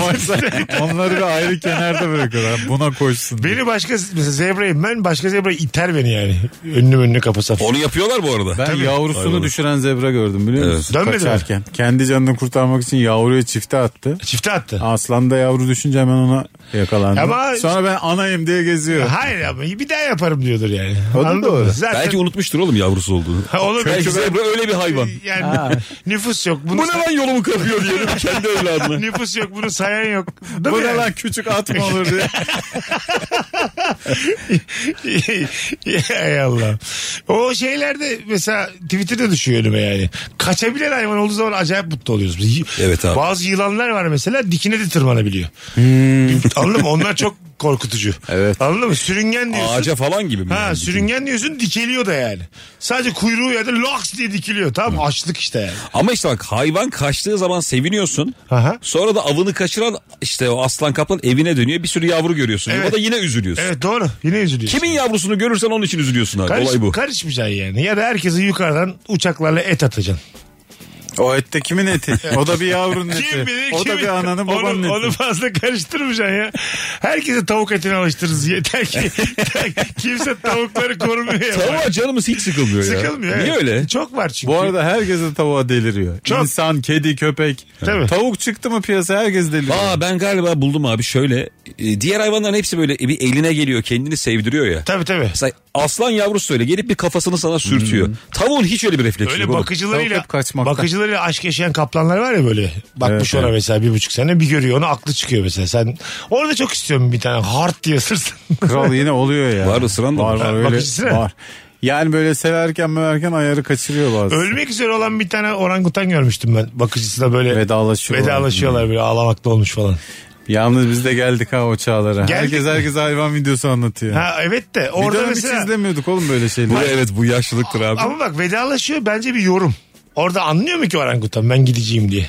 varsa onları bir ayrı kenarda bırakıyorlar. Buna koşsun. diye. Beni başka mesela zebrayım ben başka zebra iter beni yani. Önünü önünü kapasa. Onu yapıyorlar bu arada. Ben yavrusunu düşüren zebra gördüm biliyor Evet. musun? Dönmedi mi? Kaçarken. Kendi canını kurtarmak için yavruya çifte attı. Çifte attı. Aslan da yavru düşünce hemen ona yakalandı. Ama- Sonra ben anayım diye geziyor. Hayır ama bir daha yaparım diyordur yani. O da Anladın doğru. mı? Zaten Belki unutmuştur oğlum yavrusu olduğunu. Ha, olur. Belki Çünkü ben- zebra öyle bir hayvan. yani nüfus yok. Bunu Bu ne lan yolumu kapıyor diyelim kendi evladına. Nüfus yok bunu sayan yok. Değil Bu mi ne yani? lan küçük at mı olur diye. Ey Allah. O şeylerde mesela Twitter'da düşüyor önüme yani. Kaçabilen hayvan olduğu zaman acayip mutlu oluyoruz. biz. Evet abi. Bazı yılanlar var mesela dikine de tırmanabiliyor. Anladın mı? Onlar çok korkutucu. Hmm. Evet. Anladın mı? Sürüngen diyorsun. Ağaca falan gibi mi? Ha yani? sürüngen diyorsun dikeliyor da yani. Sadece kuyruğu ya da loks diye dikiliyor. Tamam Hmm. mı? açlık işte yani. Ama işte bak hayvan kaçtığı zaman seviniyorsun. Aha. Sonra da avını kaçıran işte o aslan kaplan evine dönüyor. Bir sürü yavru görüyorsun. Evet. Yuvada yine üzülüyorsun. Evet doğru. Yine üzülüyorsun. Kimin yavrusunu görürsen onun için üzülüyorsun abi. Karış, Olay bu. Karışmayacaksın yani. Ya da herkese yukarıdan uçaklarla et atacaksın. O ette kimin eti? O da bir yavrunun eti. Kim bilir o kim da bir bilir. ananın babanın onu, eti. onu fazla karıştırmayacaksın ya. Herkese tavuk etini alıştırırız. Yeter ki kimse tavukları korumuyor. ya. Tavuğa canımız hiç sıkılmıyor ya. Sıkılmıyor. Niye evet. öyle? Çok var çünkü. Bu arada herkes de tavuğa deliriyor. Çok. İnsan, kedi, köpek. Tabii. Tavuk çıktı mı piyasaya herkes deliriyor. Aa ben galiba buldum abi şöyle. e, Diğer hayvanların hepsi böyle bir eline geliyor kendini sevdiriyor ya. Tabii tabii. Mesela aslan yavrusu öyle gelip bir kafasını sana sürtüyor. Hmm. Tavuğun hiç öyle bir refleksi Öyle yok oğlum. bakıcılarıyla Tavuk hep kaçmakta. bakıcılarıyla aşk yaşayan kaplanlar var ya böyle. Bakmış ona mesela bir buçuk sene bir görüyor onu aklı çıkıyor mesela. Sen orada çok istiyorum bir tane hard diye ısırsın. Kral yine oluyor ya. Var ısıran da var. mı? Var Bakıcısı öyle. ne? Var. Yani böyle severken meverken ayarı kaçırıyor bazen. Ölmek üzere olan bir tane orangutan görmüştüm ben. Bakıcısına böyle Vedalaşıyor. vedalaşıyorlar böyle ağlamakta olmuş falan. Yalnız biz de geldik ha o çağlara. Geldik herkes mi? herkes hayvan videosu anlatıyor. Ha evet de Bir orada dönem hiç mesela izlemiyorduk oğlum böyle şeyleri. Bu evet bu yaşlılıktır abi. ama bak vedalaşıyor bence bir yorum. Orada anlıyor mu ki orangutan ben gideceğim diye.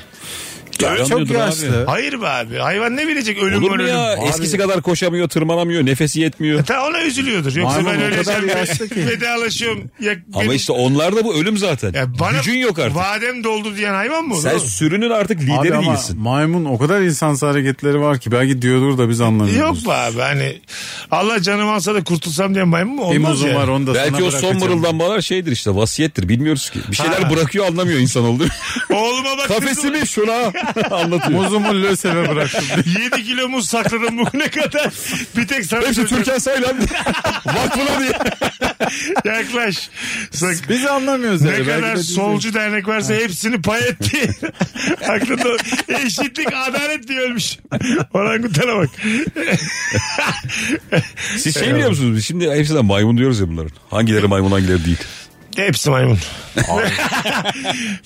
Ya, Çok yanıyordur abi. yaşlı. Hayır be abi hayvan ne bilecek ölüm Olur var E, mu ölüm. ya? Abi. Eskisi kadar koşamıyor, tırmanamıyor, nefesi yetmiyor. Ta ona üzülüyordur. Yoksa Maymun ben o kadar öleceğim. yaşlı ki. Vedalaşıyorum. Ya, benim- Ama işte onlar da bu ölüm zaten. Ya E, bana Gücün yok artık. Vadem doldu diyen hayvan mı? Sen Sen sürünün artık lideri Abi ama değilsin. maymun o kadar insansı hareketleri var ki belki diyordur da biz Yok anlamıyoruz. be abi hani Allah canım alsa da kurtulsam diyen maymun mu? Bir Olmaz muzum ya. var onu da sana Belki o son bırakacağım. mırıldanmalar şeydir işte vasiyettir bilmiyoruz ki. Bir şeyler Ha. bırakıyor anlamıyor insan oldu. Oğluma bak. kızım, Kafesimi şuna anlatıyor. Muzumu löseve bıraktım. 7 kilo muz sakladım bugüne kadar. Bir tek sana Hepsi söylüyorum. Türkan Saylan. Vakfına diye. Yaklaş. Sak- Biz anlamıyoruz. yani. Ne Belki de kadar diyeceğiz. solcu dernek varsa hepsini pay etti. Aklında eşitlik, adalet diye ölmüş. Orangutana bak. Siz şey biliyor musunuz? Biz Şimdi hepsinden maymun diyoruz ya bunların. Hangileri maymun hangileri değil. Hepsi maymun.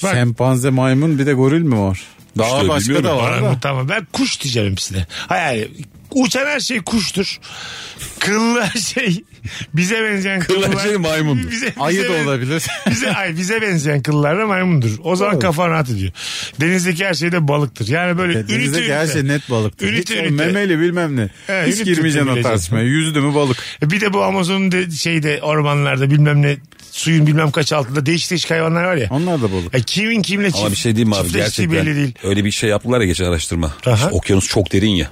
Şempanze maymun bir de goril mi var? Daha İşte başka bilmiyorum. da var. da. Orangutan mı? Ben kuş diyeceğim hepsine. Hayır uçan her şey kuştur. Kıllı her şey bize benzeyen Kıllı her şey maymundur. Bize, Ayı bize da ben- olabilir. Bize, ay, bize benzeyen kıllar da maymundur. O zaman kafan rahat ediyor. Denizdeki her şey de balıktır. Yani böyle ünite E, Denizdeki her ünite. şey net balıktır. Ünite, Hiç o ünite. memeli bilmem ne. He, Hiç ünite, girmeyeceksin ünite o bileceksin. tartışmaya. Yüzdü mü balık. E Bir de bu Amazon'un de, şeyde ormanlarda bilmem ne suyun bilmem kaç altında değişik değişik hayvanlar var ya. Onlar da balık. Ya kimin kimle çift, Ama bir şey diyeyim mi abi çiftleştiği gerçekten belli değil. öyle bir şey yaptılar ya geçen araştırma. Aha. İşte okyanus çok derin ya.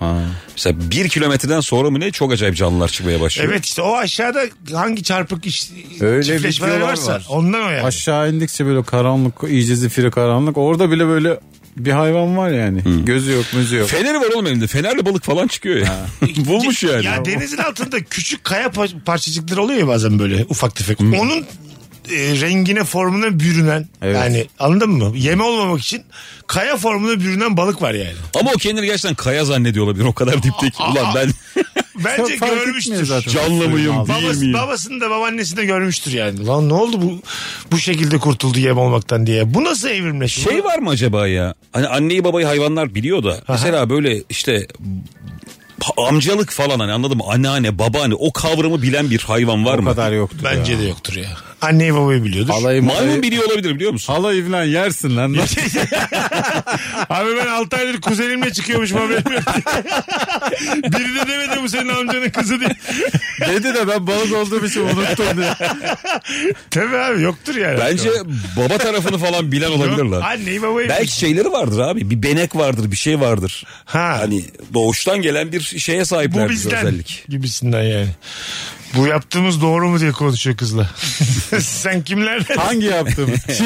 Mesela bir kilometreden sonra mı ne çok acayip canlılar çıkmaya başlıyor. Evet işte o aşağıda hangi çarpık iş, Öyle çiftleşmeler videolar varsa var. ondan o yani. Aşağı indikçe böyle karanlık, iyice zifiri karanlık. Orada bile böyle bir hayvan var yani. Gözü yok, müzü yok. Feneri var oğlum elinde. Fenerle balık falan çıkıyor ya. Bulmuş yani. Ya denizin altında küçük kaya pa- parçacıkları oluyor ya bazen böyle ufak tefek. Hmm. Onun e, rengine formuna bürünen Evet. yani anladın mı? Yeme olmamak için kaya formuna bürünen balık var yani. Ama o kendini gerçekten kaya zannediyor olabilir. O kadar dipteki. Ulan ben Bence Çok fark etmiyor görmüştür. zaten. canlı mıyım değil Babası, miyim? babasını da babaannesini de görmüştür yani. Lan ne oldu bu bu şekilde kurtuldu yem olmaktan diye. Bu nasıl evrimleşti? Şey var mı acaba ya? Hani anneyi babayı hayvanlar biliyor da. Mesela böyle işte pa- amcalık falan hani anladın mı? Anneanne, babaanne o kavramı bilen bir hayvan var O mı? kadar yoktu. Bence de yoktur ya. Anneyi babayı biliyordur. Alayım. Maymun biliyor olabilir biliyor musun? Halayı falan yersin lan. Abi ben 6 aydır kuzenimle çıkıyormuşum haberim yok. Biri de demedi bu senin amcanın kızı diye. Dedi de ben balık olduğum için unuttum diye. Tabii abi yoktur yani. Bence baba tarafını falan bilen olabilir Yok, lan. Anneyi babayı Belki şeyleri vardır abi. Bir benek vardır, bir şey vardır. Ha. Hani doğuştan gelen bir şeye sahipler bu bir bizden özellik. gibisinden yani. Bu yaptığımız doğru mu diye konuşuyor kızla. Sen kimlerden? Hangi yaptım? Çift.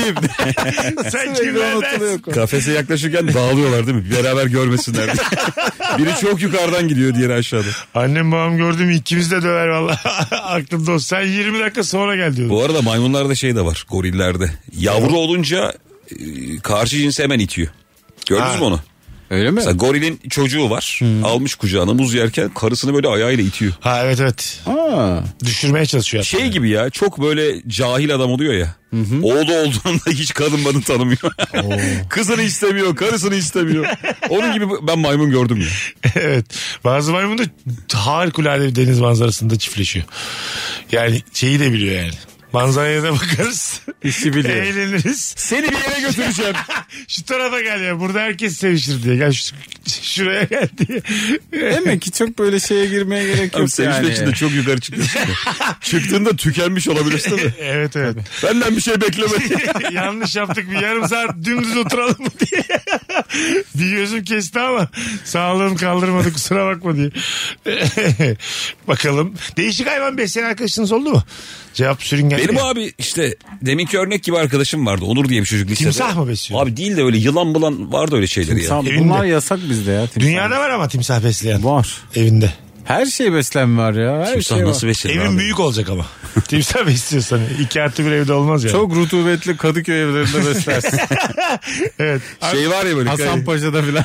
Sen Sürekli unutuluyor. kimlerden? Kafese yaklaşırken dağılıyorlar değil mi? Beraber görmesinler. diye. Biri çok yukarıdan gidiyor diğeri aşağıda. Annem babam gördü mü ikimiz de döver valla. Aklımda o. Sen 20 dakika sonra gel diyordu. Bu arada maymunlarda şey de var gorillerde. Yavru olunca e, karşı cinsi hemen itiyor. Gördünüz Ha. mü onu? Öyle mi? Mesela gorilin çocuğu var. Almış kucağına muz yerken karısını böyle ayağıyla itiyor. Ha evet evet. Ha. Düşürmeye çalışıyor. Şey gibi ya çok böyle cahil adam oluyor ya. Oğlu olduğunda hiç kadın bana tanımıyor. Kızını istemiyor, karısını istemiyor. Onun gibi ben maymun gördüm ya. evet. Bazı maymun da harikulade bir deniz manzarasında çiftleşiyor. Yani şeyi de biliyor yani. Manzaraya da bakarız. İşi biliyor. Eğleniriz. Seni bir yere götüreceğim. Şu tarafa gel ya. Burada herkes sevişir diye. Gel şu, şuraya gel diye. Demek ki çok böyle şeye girmeye gerek Abi yok sevişmek yani. için de çok yukarı çıkıyorsun. Çıktığında tükenmiş olabilirsin değil mi? evet evet. Benden bir şey bekleme. Yanlış yaptık bir yarım saat dümdüz oturalım mı diye. bir gözüm kesti ama sağlığım kaldırmadı kusura bakma diye. Bakalım. Değişik hayvan besleyen arkadaşınız oldu mu? Cevap sürüngen. Benim değil. abi işte deminki örnek gibi arkadaşım vardı. Onur diye bir çocuk lisede. Timsah mı besliyor? Abi değil de öyle yılan bulan vardı öyle şeyleri ya. Timsah- Evinde. bunlar yasak bizde ya. timsah. Dünyada var ama timsah besleyen. var. Evinde. Her şey beslenme var ya. Her Timsah şey var. nasıl beslenir Evin abi? büyük olacak ama. timsah besliyorsan. iki artı bir evde olmaz yani. Çok rutubetli Kadıköy evlerinde beslersin. Evet. Şey var ya böyle Hasan Paşa'da filan.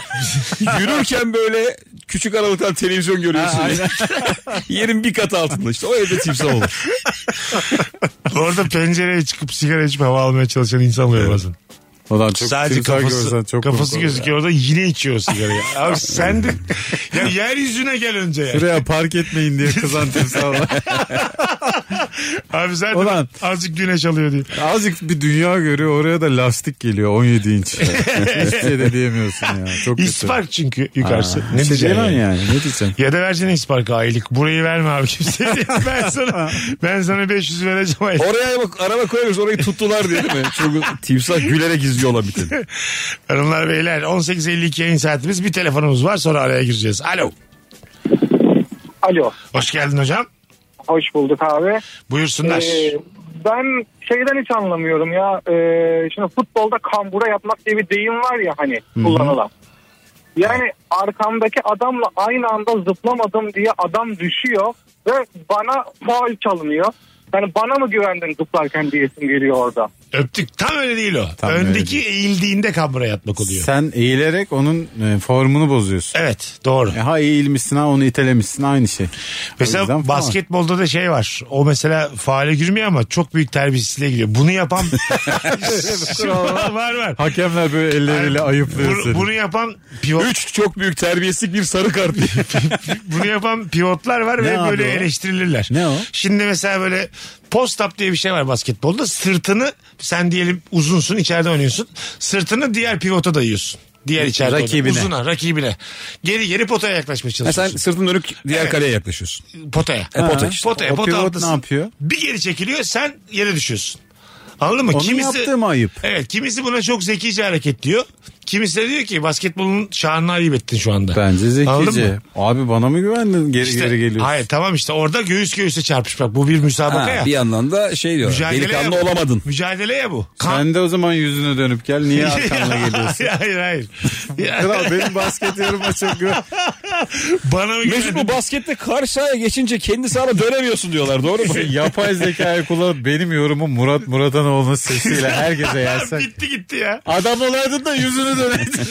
yürürken böyle küçük aralıktan televizyon görüyorsun. Yerin bir kat altında işte o evde timsah olur. Orada pencereye çıkıp sigara içip hava almaya çalışan insan oluyor bazen. Ulan çok Sadece timsah kafası, görsen çok kafası komik olur gözüküyor orada yine içiyor sigarayı. Abi sen de ya yeryüzüne gel önce ya. ya. Şuraya park etmeyin diye kızan timsah var. Abi zaten Ulan. azıcık güneş alıyor diye. Azıcık bir dünya görüyor oraya da lastik geliyor 17 inç. Hiçbir şey de diyemiyorsun ya. Çok kötü. İspark çünkü yukarısı. Ne ne diyeceksin yani? yani? Ne diyeceğim? Ya da versene İspark'a aylık. Burayı verme abi kimseye. ben sana ben sana 500 vereceğim aylık. Oraya bak araba koyuyoruz orayı tuttular diye değil mi? Çünkü timsah gülerek izliyor olabilir. Hanımlar beyler 18.52 yayın saatimiz. Bir telefonumuz var sonra araya gireceğiz. Alo. Alo. Hoş geldin hocam. Hoş bulduk abi. Buyursunlar. Ee, ben şeyden hiç anlamıyorum ya. Ee, şimdi futbolda kambura yapmak diye bir deyim var ya hani kullanılan. Yani arkamdaki adamla aynı anda zıplamadım diye adam düşüyor ve bana faul çalınıyor. Yani bana mı güvendin zıplarken diyesim geliyor orada. Öptük. Tam öyle değil o. Tam öyle Öndeki eğildiğinde kamera yatmak oluyor. Sen eğilerek onun e, formunu bozuyorsun. Evet doğru. E, ha eğilmişsin ha onu itelemişsin aynı şey. O yüzden Mesela falan. basketbolda da şey var. O mesela faale girmiyor ama çok büyük terbiyesizliğe gidiyor. Bunu yapan var var. Hakemler böyle elleriyle ayıplıyor Bunu, seni. bunu yapan pivot, Üç çok büyük terbiyesizlik bir sarı kart diye. bunu yapan pivotlar var Ne ve abi böyle o? eleştirilirler. Ne o? Şimdi mesela böyle post up diye bir şey var basketbolda. Sırtını sen diyelim uzunsun içeride oynuyorsun. Sırtını diğer pivota dayıyorsun. Diğer içeride oynayan. Rakibine. Uzuna rakibine. Geri geri potaya yaklaşmaya Ha, E sen çalışıyorsun. sırtın dönük diğer kaleye yaklaşıyorsun. Potaya. E, pota Ha. işte. Potaya, O pota pivot altısın. ne yapıyor? Bir geri çekiliyor sen yere düşüyorsun. Anladın mı? Onun yaptığı mı ayıp? Evet kimisi buna çok zekice hareket diyor. Kimisi de diyor ki basketbolun şanını ayıp ettin şu anda. Bence Anladın mı? zekice. Abi bana mı güvendin? Geri İşte- geri geliyorsun. Hayır tamam işte orada göğüs göğüse çarpışmak. Bu bir müsabaka Ha, ya. bir yandan da şey diyor. Mücadele Delikanlı ya bu. olamadın. Mücadele ya bu. Kan- Sen de o zaman yüzüne dönüp gel. Niye arkamla geliyorsun? hayır hayır. Ya, Kral benim basket yoruma çok güven. bana mı Mesut güvendin? bu baskette karşı sahaya geçince kendi sahana dönemiyorsun diyorlar doğru mu? Yapay zekayı kullanıp benim yorumum Murat Muratanoğlu'nun sesiyle herkese yersen. Bitti gitti ya. Adam olaydın da yüzünü döneydin.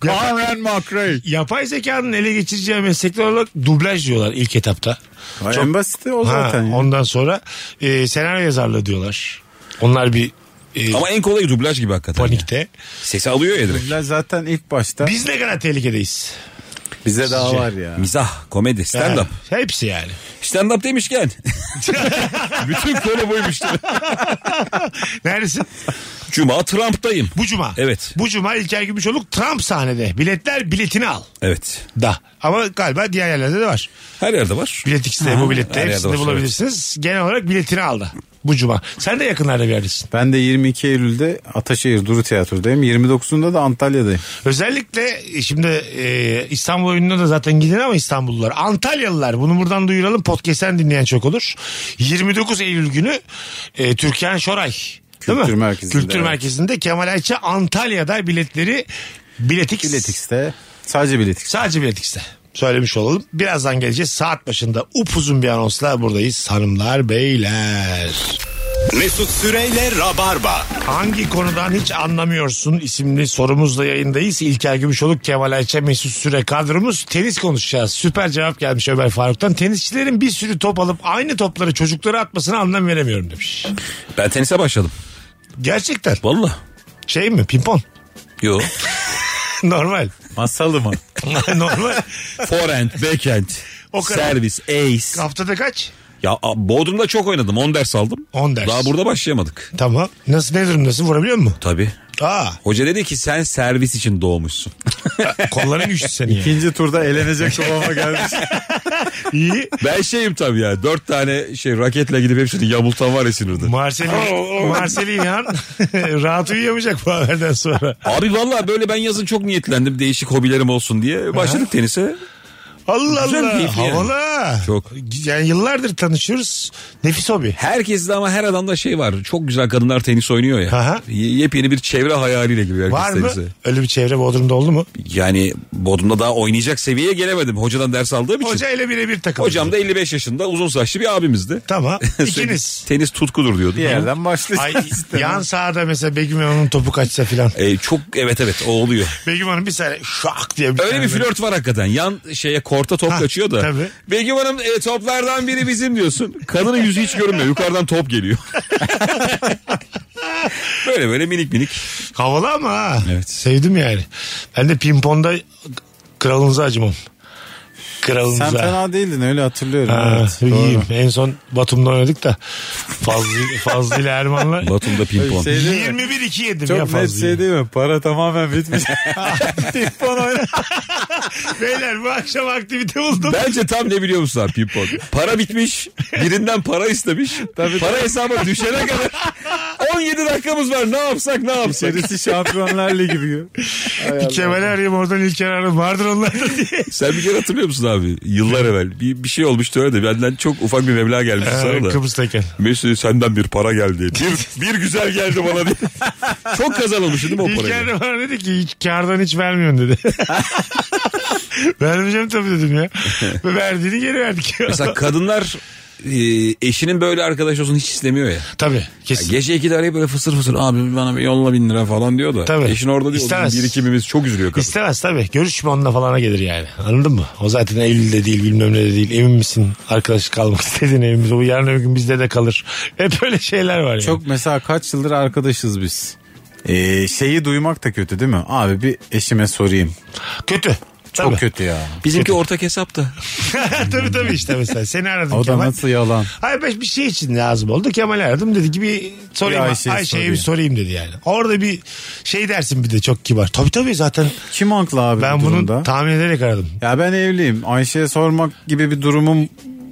Conran McRae. Yapay zekanın ele geçireceği meslekler olarak dublaj diyorlar ilk etapta. Çok- En basiti o Ha, zaten. ya. Ondan sonra e, senaryo yazarlığı diyorlar. Onlar bir e, Ama en kolayı dublaj gibi hakikaten. panikte. Sesi alıyor ya direkt. Dublaj zaten ilk başta Biz ne kadar tehlikedeyiz. bize daha var ya. Mizah, komedi, stand-up. Ha, Hepsi yani. Stand-up demişken. Bütün konu buymuş. Neredesin? Cuma Trump'tayım. Bu cuma. Evet. Bu cuma İlker Gümüşoluk Trump sahnede. Biletler biletini al. Evet. Da. Ama galiba diğer yerlerde de var. Her yerde var. Bilet X'de Aha. bu bilette Her yerde hepsinde var, bulabilirsiniz. Genel olarak biletini al da. Bu cuma. Sen de yakınlarda bir yerdesin. Ben de 22 Eylül'de Ataşehir Duru Tiyatro'dayım. 29'unda da Antalya'dayım. Özellikle e, şimdi e, İstanbul oyununa da zaten gidin ama İstanbullular. Antalyalılar bunu buradan duyuralım. Podcast'ten dinleyen çok olur. 29 Eylül günü e, Türkan Şoray. değil Kültür mi? Merkezi'nde, Kültür evet. Merkezi'nde Kemal Ayça Antalya'da biletleri Biletix. Biletix'te sadece Biletix. Sadece Biletix'te. Söylemiş olalım. Birazdan geleceğiz. Saat başında upuzun bir anonsla buradayız hanımlar beyler. Mesut Süreyle Rabarba. Hangi konudan hiç anlamıyorsun isimli sorumuzla yayındayız. İlker Gümüşoluk, Kemal Ayça, Mesut Süre kadromuz. Tenis konuşacağız. Süper cevap gelmiş Ömer Faruk'tan. Tenisçilerin bir sürü top alıp aynı topları çocuklara atmasına anlam veremiyorum demiş. Ben tenise başladım. Gerçekten. Valla. Şey mi? Pimpon. Yo. Normal. Masalı mı? Normal. Forehand, backhand. O kadar. Servis, ace. Haftada kaç? Ya a- Bodrum'da çok oynadım. 10 ders aldım. 10 ders. Daha burada başlayamadık. Tamam. Nasıl ne durumdasın vurabiliyor musun? Tabii. Aa Hoca dedi ki sen servis için doğmuşsun. kolların güçlü senin. ya. İkinci turda elenecek kıvama gelmiş. İyi. ben şeyim tabii ya. Dört tane şey raketle gidip hepsini yamultan var ya sinirde. Oh, Marceli, Marceli İlhan rahat uyuyamayacak bu haberden sonra. Abi valla böyle ben yazın çok niyetlendim değişik hobilerim olsun diye. Başladık tenise. Allah Güzel, Allah. keyifli yani. Havalı. Çok. Yani yıllardır tanışıyoruz. Nefis hobi. Herkeste ama her adamda şey var. Çok güzel kadınlar tenis oynuyor ya. Aha. Y- Yepyeni bir çevre hayaliyle giriyor Var herkes mı? tenise. Öyle bir çevre Bodrum'da oldu mu? Yani Bodrum'da daha oynayacak seviyeye gelemedim. Hocadan ders aldığım için. Hoca ile birebir takıldı. Hocam da 55 yaşında uzun saçlı bir abimizdi. Tamam. Sürekli İkiniz. Tenis tutkudur diyordu. Bir yerden Ay, başlayacağız. yan sahada mesela Begüm Hanım'ın topu kaçsa filan. E, çok evet evet o oluyor. Begüm Hanım bir saniye şak diye. Bir Öyle bir flört var hakikaten. Yan şeye korta top Ha, kaçıyor da. tabii. Begüm Hanım e, toplardan biri bizim diyorsun. Kadının yüzü hiç görünmüyor. Yukarıdan top geliyor. böyle böyle minik minik. Havalı ama ha. Evet. Sevdim yani. Ben de pimponda kralınıza acımam. Kralınıza. Sen fena değildin öyle hatırlıyorum. Ha, evet, doğru. Ee, iyiyim. En son Batum'da oynadık da Fazlı, Fazlı ile Erman'la Batum'da pimpon. Şey değil mi? 21-2 yedim ya Çok net şey Fazlı'yı. değil mi? Para tamamen bitmiş. Pimpon oyna. Beyler bu akşam aktivite buldum. Bence tam ne biliyor musun abi pimpon? Para bitmiş. Birinden para istemiş. para hesaba düşene kadar 17 dakikamız var. Ne yapsak ne yapsak. Serisi Şampiyonlar Ligi gibi. Kemal'i arayayım oradan İlker ararım. Vardır onlar da diye. Sen bir kere hatırlıyor musun abi? Yıllar evvel bir, bir şey olmuştu öyle de benden çok ufak bir meblağ gelmiş sana Ha, da. Kıbrıs'tayken. Mesut senden bir para geldi. Bir, bir güzel geldi bana diye. Çok kazanılmıştı değil mi o İlker parayı? de bana dedi ki hiç, kardan hiç vermiyorsun dedi. Vermeyeceğim tabii dedim ya. Ve verdiğini geri verdik. Mesela kadınlar e, eşinin böyle arkadaş olsun hiç istemiyor ya. tabii kesin. Gece 2'de arayıp böyle fısır fısır abi bana bir yolla bin lira falan diyor da. Tabii. Eşin orada diyor İstemez. "Bizim birikimimiz çok üzülüyor kadın. İstemez tabii. Görüşme onunla falana gelir yani. Anladın mı? O zaten Eylül'de değil bilmem ne de değil. Emin misin arkadaş kalmak istediğin evimiz. O yarın öbür gün bizde de kalır. Hep öyle şeyler var yani. Çok mesela kaç yıldır arkadaşız biz. Ee, şeyi duymak da kötü değil mi? Abi bir eşime sorayım. kötü. Çok Tabii. kötü ya. Bizimki ortak hesap da. tabii tabii işte mesela. Seni aradım O da Kemal. nasıl yalan. Hayır ben bir şey için lazım oldu. Kemal aradım dedi ki bir sorayım. Bir Ayşe'ye, Ayşe'ye bir sorayım dedi yani. Orada bir şey dersin bir de çok kibar. Tabii tabii zaten Kim haklı abi ben bu bunu durumda? tahmin ederek aradım. Ya ben evliyim. Ayşe'ye sormak gibi bir durumum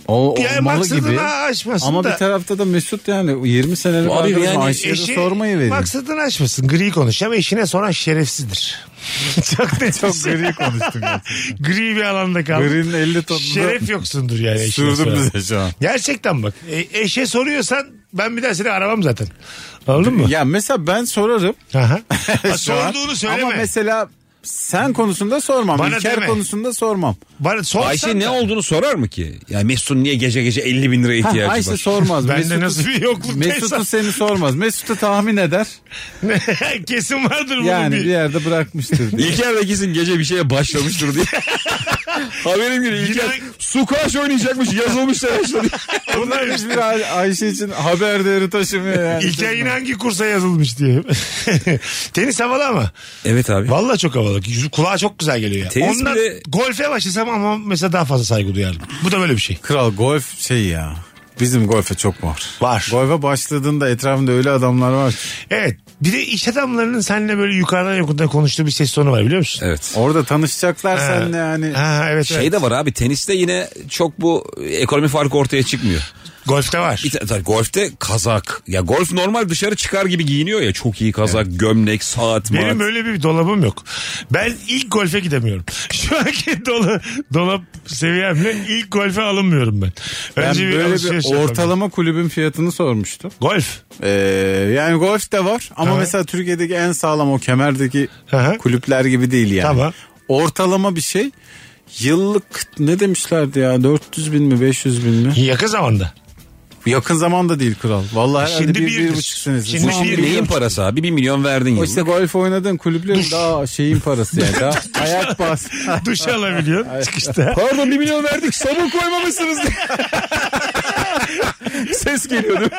o, Yani olmalı maksadını gibi. aşmasın Ama da. bir tarafta da Mesut yani 20 senelik Abi arkadaşım yani Ayşe'ye de Eşi- sormayı verin. Maksadını aşmasın. Gri konuş ama eşine soran şerefsizdir. çok net. Çok gri konuştum. ya. gri bir alanda kaldı. Gri'nin 50 tonunu Şeref yoksundur yani. eşine sürdüm soran. bize şu an. Gerçekten bak. E, eşe soruyorsan ben bir daha seni aramam zaten. Anladın mı? Ya mesela ben sorarım. Aha. Ha, şu an. Sorduğunu söyleme. Ama mesela sen konusunda sormam. Bana İlker deme. konusunda sormam. Bana sorsan Ayşe ne da- olduğunu sorar mı ki? Yani Mesut'un niye gece gece 50 bin liraya Hah, ihtiyacı Ayşe var? sormaz. Bende Mesut'u- nasıl bir yoklukta Mesut'u seni sormaz. Mesut'u tahmin eder. Kesin vardır bunun Yani bir. bir yerde bırakmıştır. diye. İlker de kesin gece bir şeye başlamıştır diye. Haberim gibi İlker Yine- sukaş oynayacakmış yazılmış da yaşladı. Bunlar Hiçbir Ay- Ayşe için haber değeri taşımıyor yani. İlker yine hangi kursa yazılmış diye. Tenis havalı ama. Evet abi. Vallahi çok havalı. Yüzü- Kulağa çok güzel geliyor. ya. Tenis Ondan bile- golfe başlasam ama mesela daha fazla saygı duyardım. Bu da böyle bir şey. Kral golf şey ya. Bizim golfe çok var. Var. Golfe başladığında etrafında öyle adamlar var. ki. Evet. Bir de iş adamlarının seninle böyle yukarıdan yukarıdan konuştuğu bir ses tonu var biliyor musun? Evet. Orada tanışacaklar Ha. seninle yani. Ha, evet, Şey evet. de var abi teniste yine çok bu ekonomi farkı ortaya çıkmıyor. Golfte var. Bir ta- ta- golfte kazak. Ya golf normal dışarı çıkar gibi giyiniyor ya. Çok iyi kazak, gömlek, saat, Benim maat. öyle bir dolabım yok. Ben ilk golfe gidemiyorum. Şu anki dola, dolap seviyemle ilk golfe alınmıyorum ben. Ben Önce böyle alışveriş bir yapalım. ortalama kulübün fiyatını sormuştum. Golf. Ee, yani golf de var ama Aha. mesela Türkiye'deki en sağlam o kemerdeki Aha. kulüpler gibi değil yani. Tamam. Ortalama bir şey yıllık ne demişlerdi ya 400 bin mi 500 bin mi? Yakın zamanda. Yakın zamanda değil kral. Vallahi herhalde E Şimdi bir, birdir. bir buçuk senesi. Şimdi Şu an bir- bir- Neyin parası abi? Bir milyon verdin O ya. işte golf oynadığın kulüplerin daha şeyin parası yani. Daha ayak bas. Duş alabiliyorsun çıkışta. Pardon bir milyon verdik sabun koymamışsınız. ses geliyor değil mi?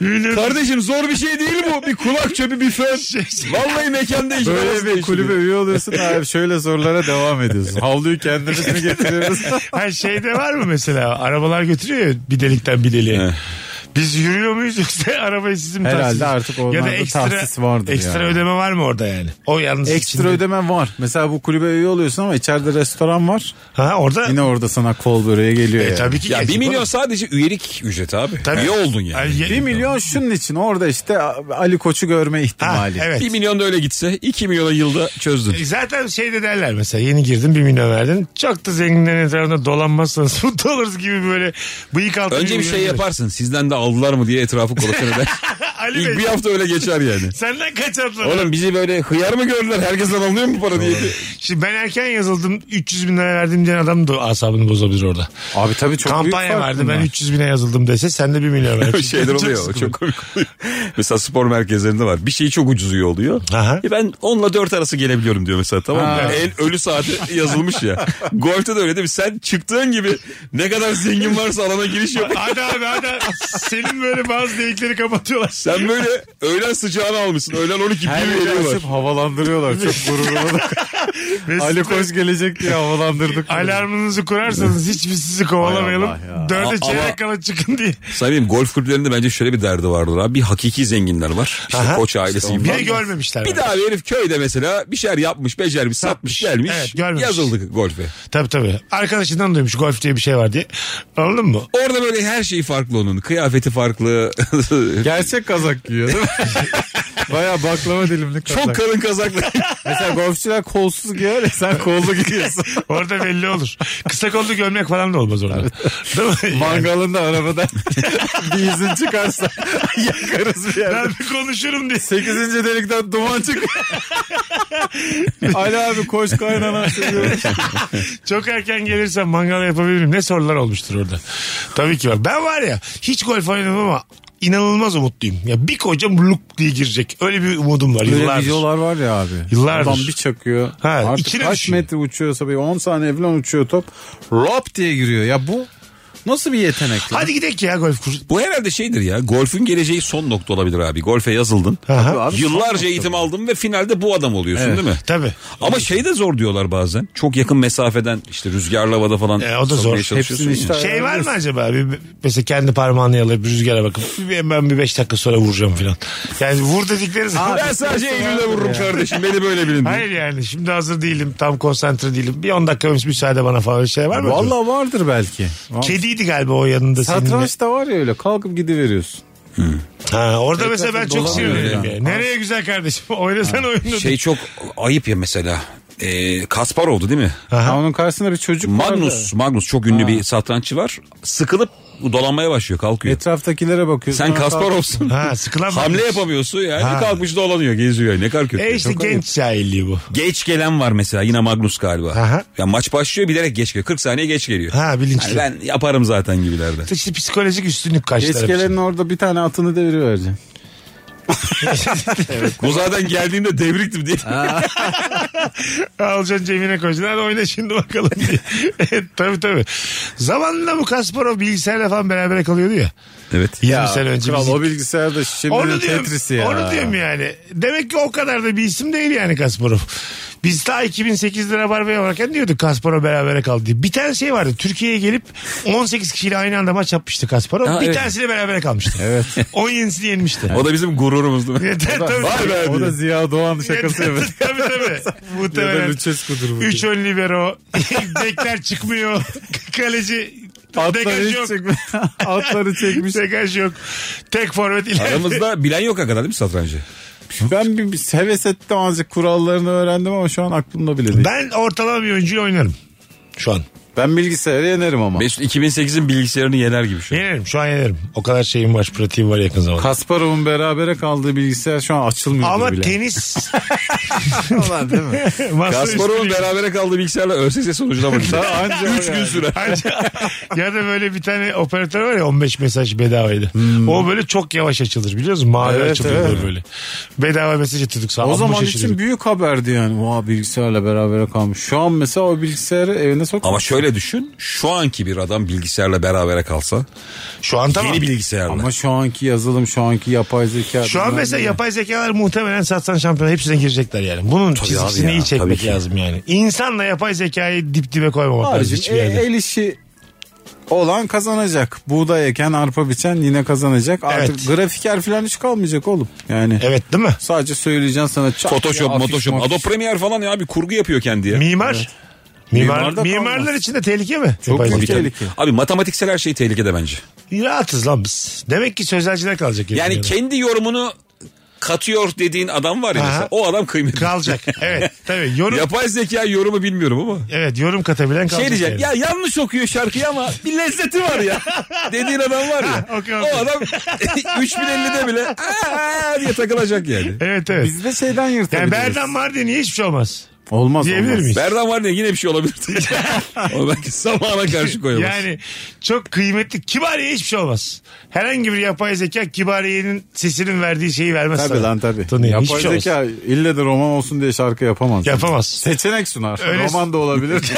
Ünlü- Kardeşim zor bir şey değil bu. Bir kulak çöpü bir fön. Şey- Vallahi mekanda iş Böyle bir arası değiştiriyor. kulübe üye oluyorsun abi şöyle sorulara devam ediyorsun. Havluyu kendimiz mi getiriyoruz? Her şeyde var mı mesela? Arabalar götürüyor ya bir delikten bir deliğe. Biz yürüyor muyuz yoksa arabayı sizin mi tahsis- Herhalde artık onlarda tahsis vardır Ekstra yani. ödeme var mı orada yani? O yalnız Ekstra içinde. ödeme var. Mesela bu kulübe üye oluyorsun ama içeride restoran var. Ha orada. Yine orada sana kol böreği geliyor E, yani. tabii ki. Ya gelecek 1 milyon oğlum. sadece üyelik ücret abi. Tabii. Üye oldun yani. Ay, ye- 1 milyon şunun için orada işte Ali Koç'u görme Ha, ihtimali. evet. 1 milyon da öyle gitse 2 milyona yılda çözdün. E, Zaten şey de derler mesela yeni girdin 1 milyon verdin. Çok da zenginlerin etrafında dolanmazsanız mutlu oluruz gibi böyle bıyık altı. Önce bir şey yaparsın. Sizden de aldılar mı diye etrafı kolaçan eder. Ali Bey İlk bir hafta öyle geçer yani. senden kaç atladın? Oğlum bizi böyle hıyar mı gördüler? Herkesten alınıyor mu para diye. Şimdi ben erken yazıldım 300 bin lira verdim diyen adam da asabını bozabilir orada. Abi tabii çok büyük Kampanya fark vardı bunlar. ben 300 bine yazıldım dese sen de 1 milyon O ver. şeyler oluyor. o Çok komik oluyor. Mesela spor merkezlerinde var. Bir şey çok ucuz üye oluyor. Aha. E ben onunla dört arası gelebiliyorum diyor mesela tamam mı? El ölü saati yazılmış ya. Golf'te de öyle değil mi? Sen çıktığın gibi ne kadar zengin varsa alana giriş yap. Hadi abi hadi. abi. Senin böyle bazı delikleri kapatıyorlar. Sen böyle öğlen sıcağını almışsın. Öğlen 12 Her bir yeri üyeliği var. açıp havalandırıyorlar. Çok gururlu. Mesut Ali Bey, Koç gelecek diye havalandırdık. Alarmınızı kurarsanız hiçbir sizi kovalamayalım. Hay Allah ya. Dörde A- çeyrek ama- kala çıkın diye. Samim golf kulüplerinde bence şöyle bir derdi vardır abi. Bir hakiki zenginler var. İşte Aha. koç ailesi gibi. Bir de falan. görmemişler. Bir daha bir herif köyde mesela bir şeyler yapmış, becermiş, satmış, gelmiş. Evet, görmemiş. Yazıldık golfe. Tabii tabii. Arkadaşından duymuş golf diye bir şey var diye. Anladın mı? Orada böyle her şeyi farklı onun. Kıyafeti farklı. Gerçek kazak giyiyor değil mi? Baya baklava dilimli kazak. Çok kalın kazaklı. Mesela golfçüler kolsuz giyer ya, sen kollu giyiyorsun. Orada belli olur. Kısa kollu gömlek falan da olmaz orada. Değil mi? Yani Mangalında arabada bir izin çıkarsa yakarız bir yerde. ben bir konuşurum diye. 8. delikten duman çık. Ali abi koş kaynana seviyorum. Çok erken gelirsen mangal yapabilirim. Ne sorular olmuştur orada. Tabii ki var. Ben var ya hiç golf oynamam ama inanılmaz umutluyum. Ya bir koca luk diye girecek. Öyle bir umudum var Böyle yıllardır. videolar var ya abi. Yıllardır. Adam bir çakıyor. Ha, artık içine kaç düşüyor. metre uçuyorsa bir 10 saniye falan uçuyor top. Rop diye giriyor. Ya bu nasıl bir yetenek? ya? Hadi gidelim ya golf kursu. Bu herhalde şeydir ya. Golfün geleceği son nokta olabilir abi. Golfe yazıldın. Aha. Abi son Yıllarca nokta eğitim aldın ve finalde bu adam oluyorsun Evet. değil mi? Tabii. Ama şey de zor diyorlar bazen. Çok yakın mesafeden işte rüzgarlı havada falan. E, o da sokmaya zor. çalışıyorsun Hepsini işte ya. Şey var mı Ee, acaba? Bir, mesela kendi parmağını yalayıp rüzgara bakıp bir- ben bir beş dakika sonra vuracağım falan. Yani vur dedikleri zaman. Ben sadece Eylül'de vururum kardeşim. Beni böyle bilin. diye. Hayır yani şimdi hazır değilim. Tam konsantre değilim. Bir 10 dakika müsaade bana falan bir şey var mı? Valla vardır belki. Kediydi galiba o yanında seninle. Satranç da var ya öyle kalkıp gidiveriyorsun. Ha, orada mesela ben çok dolanıyor sinirliyim ya. ya. Nereye güzel kardeşim? Oynasan oyunu. Şey çok ayıp ya mesela. E, Kaspar oldu değil mi? Ha, onun karşısında bir çocuk Magnus, vardı. Magnus çok ünlü bir satranççı var. Sıkılıp dolanmaya başlıyor, E, kalkıyor. Etraftakilere bakıyorsun. Sen Ona kalk- Kasparov'sun. Ha, sıkılan Hamle bakmış. yapamıyorsun yani. Ha. Kalkmış dolanıyor, geziyor. yani. Ne kadar kötü. E işte Çok ayıp. genç cahilliği bu. Geç gelen var mesela yine Magnus galiba. Aha. Ya maç başlıyor bilerek geç geliyor. 40 saniye geç geliyor. Ha bilinçli. Yani ben yaparım zaten gibilerde. İşte psikolojik üstünlük karşı taraf için. Eskelerin orada bir tane atını devirivereceksin. Bu zaten geldiğinde devriktim diye. Alacaksın cebine koyacaksın. Hadi oyna şimdi bakalım diye. Evet, tabii tabii. Zamanında bu Kasparov bilgisayarla falan beraber kalıyordu ya. evet. 20 sene önce. Kral biz- o bilgisayar da şimdi Onu diyorum, Tetris'i ya. onu diyorum yani. Demek ki o kadar da bir isim değil yani Kasparov. Biz daha 2008'de Rabarba'ya varken diyorduk Kasparov berabere kaldı diye. Bir tane şey vardı. Türkiye'ye gelip 18 kişiyle aynı anda maç yapmıştı Kasparov. Ha, bir evet. tanesiyle berabere kalmıştı. Evet. 17'sini yenmişti. O da bizim gururumuzdu. Yeter tabii. O da Ziya Doğan şakası Tabii evet. tabii. Ya da Muhtemelen. Lüçescu'dur bu. Üç ön libero. Bekler çıkmıyor. Kaleci. Atları, Dekaj yok. hiç çekme- Atları çekmiş. Dekaj yok. Tek forvet ileride. Aramızda bilen yok hakikaten değil mi satrancı? Ben bir, bir heves ettim azıcık kurallarını öğrendim ama şu an aklımda bile değil. Ben, Ben ortalama bir oyuncuyla oynarım. Şu an. bilgisayarı yenerim ama. Mesut 2008'in bilgisayarını yener gibi şu an. Yenerim. Şu an yenerim. O kadar şeyim var. Pratiğim var yakın zamanda. Kasparov'un berabere kaldığı bilgisayar şu an açılmıyor Ama bile. tenis. değil mi? masa Kasparov'un üstü- berabere kaldığı bilgisayarla ÖSS sonucuna bakacağız. Anca 3 gün süre. Anca- ya da böyle bir tane operatör var ya 15 mesaj bedavaydı. O böyle çok yavaş açılır biliyor musun? Mavi Hmm. Evet, açılıyor evet. böyle. Bedava mesaj atıyorduk sağ O olun, zaman şaşırıyorduk. için büyük haberdi yani. Oha bilgisayarla berabere kalmış. Şu an mesela o bilgisayarı evine sok. Ama şöyle şöyle düşün. Şu anki bir adam bilgisayarla berabere kalsa. Şu an tamam. Yeni bilgisayarla. Ama şu anki yazılım şu anki yapay zeka. Şu an bilmem mesela ne. yapay zekalar muhtemelen satsan şampiyonu hepsine girecekler yani. Bunun çizgisini abi ya, iyi tabii çekmek ki. lazım yani. İnsanla yapay zekayı dip dibe koymamak lazım Abicim, hiçbir e- yerde. el işi olan kazanacak. Buğday eken, arpa biçen yine kazanacak. Artık Evet. grafiker falan hiç kalmayacak oğlum. Yani Evet değil mi? sadece söyleyeceksin sana. çat Photoshop, diye afiş Photoshop. mafiş. Adobe Premiere falan ya bir kurgu yapıyor kendi ya. Mimar. Mimar, Mimar da mimarlar kalmaz. için de tehlike mi? Yapay büyük zeka. tehlike. Abi matematiksel her şey tehlikede bence. Rahatız lan biz. Demek ki sözelciler kalacak. Yani yarın. kendi yorumunu katıyor dediğin adam var ya Aha. mesela, o adam kıymetli. kalacak. Evet tabii. Yorum, Yapay zeka yorumu bilmiyorum ama. evet yorum katabilen kalacak. Şey diyeceğim yani. ya yanlış okuyor şarkıyı ama bir lezzeti var ya. Dediğin adam var ya. Ha, okey, okey. o adam 3050'de bile "Aa!" diye takılacak yani. Evet evet. Biz de şeyden yani yırtabiliriz. Berdan var diye niye hiçş şey olmaz? Olmaz Diyebilir olmaz. miyiz? Berdan var diye yine bir şey olabilir. Onu belki zamana şey karşı koyamaz. Yani çok kıymetli. Kibariye hiçbir şey olmaz. Herhangi bir yapay zeka kibariyenin sesinin verdiği şeyi vermez. Tabii sana. lan tabii. Tanıyor. Hiçbir Yapay şey olmaz. zeka ille de roman olsun diye şarkı yapamaz. Yapamaz. Seçenek sunar. Öyle- Roman da olabilir.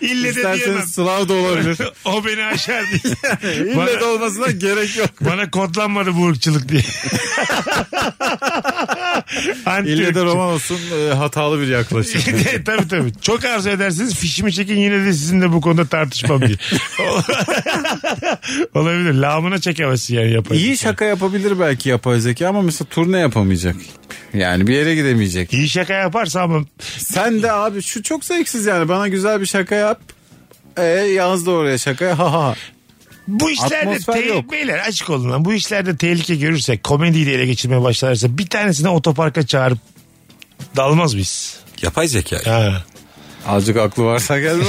İlle de diyemem. İsterseniz Slav da olabilir. O beni aşar diye. İlle de olmasına gerek yok. Bana kodlanmadı bu ırkçılık diye. Anti İlle de ırkçı. roman olsun e, hatalı bir yaklaşım. tabii tabii. Çok arzu edersiniz. Fişimi çekin yine de sizinle bu konuda tartışmam diye. Olabilir. Lağmına çekemezsin yani yapay. İyi zeka. şaka yapabilir belki yapay zeka ama mesela turne yapamayacak. Yani bir yere gidemeyecek. İyi şaka yaparsa ama Sen de abi şu çok zevksiz yani bana güzel bir şaka yap. E, yaz da oraya şakaya ha ha. bu işlerde Atmosfer tehlike yok. beyler açık olun lan. Bu işlerde tehlike görürsek komediyi de ele geçirmeye başlarsa bir tanesini otoparka çağırıp dalmaz biz. Yapay zeka. Ha. Azıcık aklı varsa gelmez.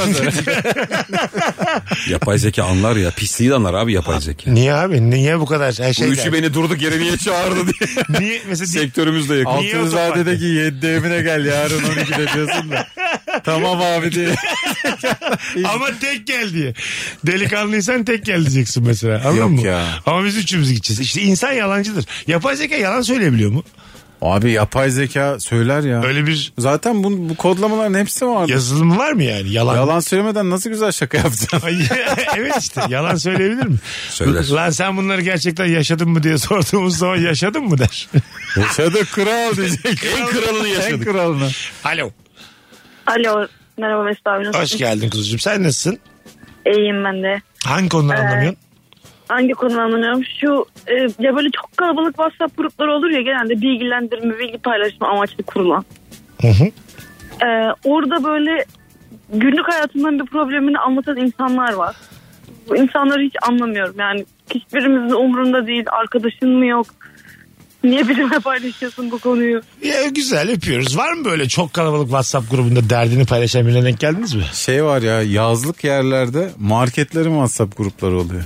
Yapay zeka anlar ya. Pisliği de anlar abi yapay zeka. Niye abi? Niye bu kadar her Bu şey? üçü beni durduk yere niye çağırdı diye. Niye mesela di- Sektörümüz de yakın. Niye otopark? Altınzade'deki yedi evine gel yarın 12'de diyorsun da. tamam abi diye. ama tek gel diye. Delikanlıysan tek gel diyeceksin mesela. Anladın Yok mı? ya. Ama biz üçümüz gideceğiz. İşte insan yalancıdır. Yapay zeka yalan söyleyebiliyor mu? Abi yapay zeka söyler ya. Öyle bir Zaten bu, bu kodlamaların hepsi vardı. yazılım var mı yani? Yalan. Yalan söylemeden nasıl güzel şaka yapacaksın? evet işte yalan söyleyebilir mi? Söyler. Lan sen bunları gerçekten yaşadın mı diye sorduğumuz zaman yaşadın mı der. Yaşadık kral diyecek. En kralını En yaşadık. kralını. Alo. Alo. Merhaba Mesut abi nasılsın? Hoş geldin kuzucuğum. Sen nasılsın? İyiyim ben de. Hangi konuları Ee, anlamıyorsun? Hangi konu anlıyorum? Şu e, ya böyle çok kalabalık WhatsApp grupları olur ya genelde bilgilendirme, bilgi paylaşma amaçlı kurulan. Hı hı. E, orada böyle günlük hayatından bir problemini anlatan insanlar var. Bu insanları hiç anlamıyorum. Yani hiçbirimizin umurunda değil. Arkadaşın mı yok? Niye bizimle paylaşıyorsun bu konuyu? Ya güzel öpüyoruz. Var mı böyle çok kalabalık WhatsApp grubunda derdini paylaşan birine denk geldiniz mi? Şey var ya yazlık yerlerde marketlerin WhatsApp grupları oluyor.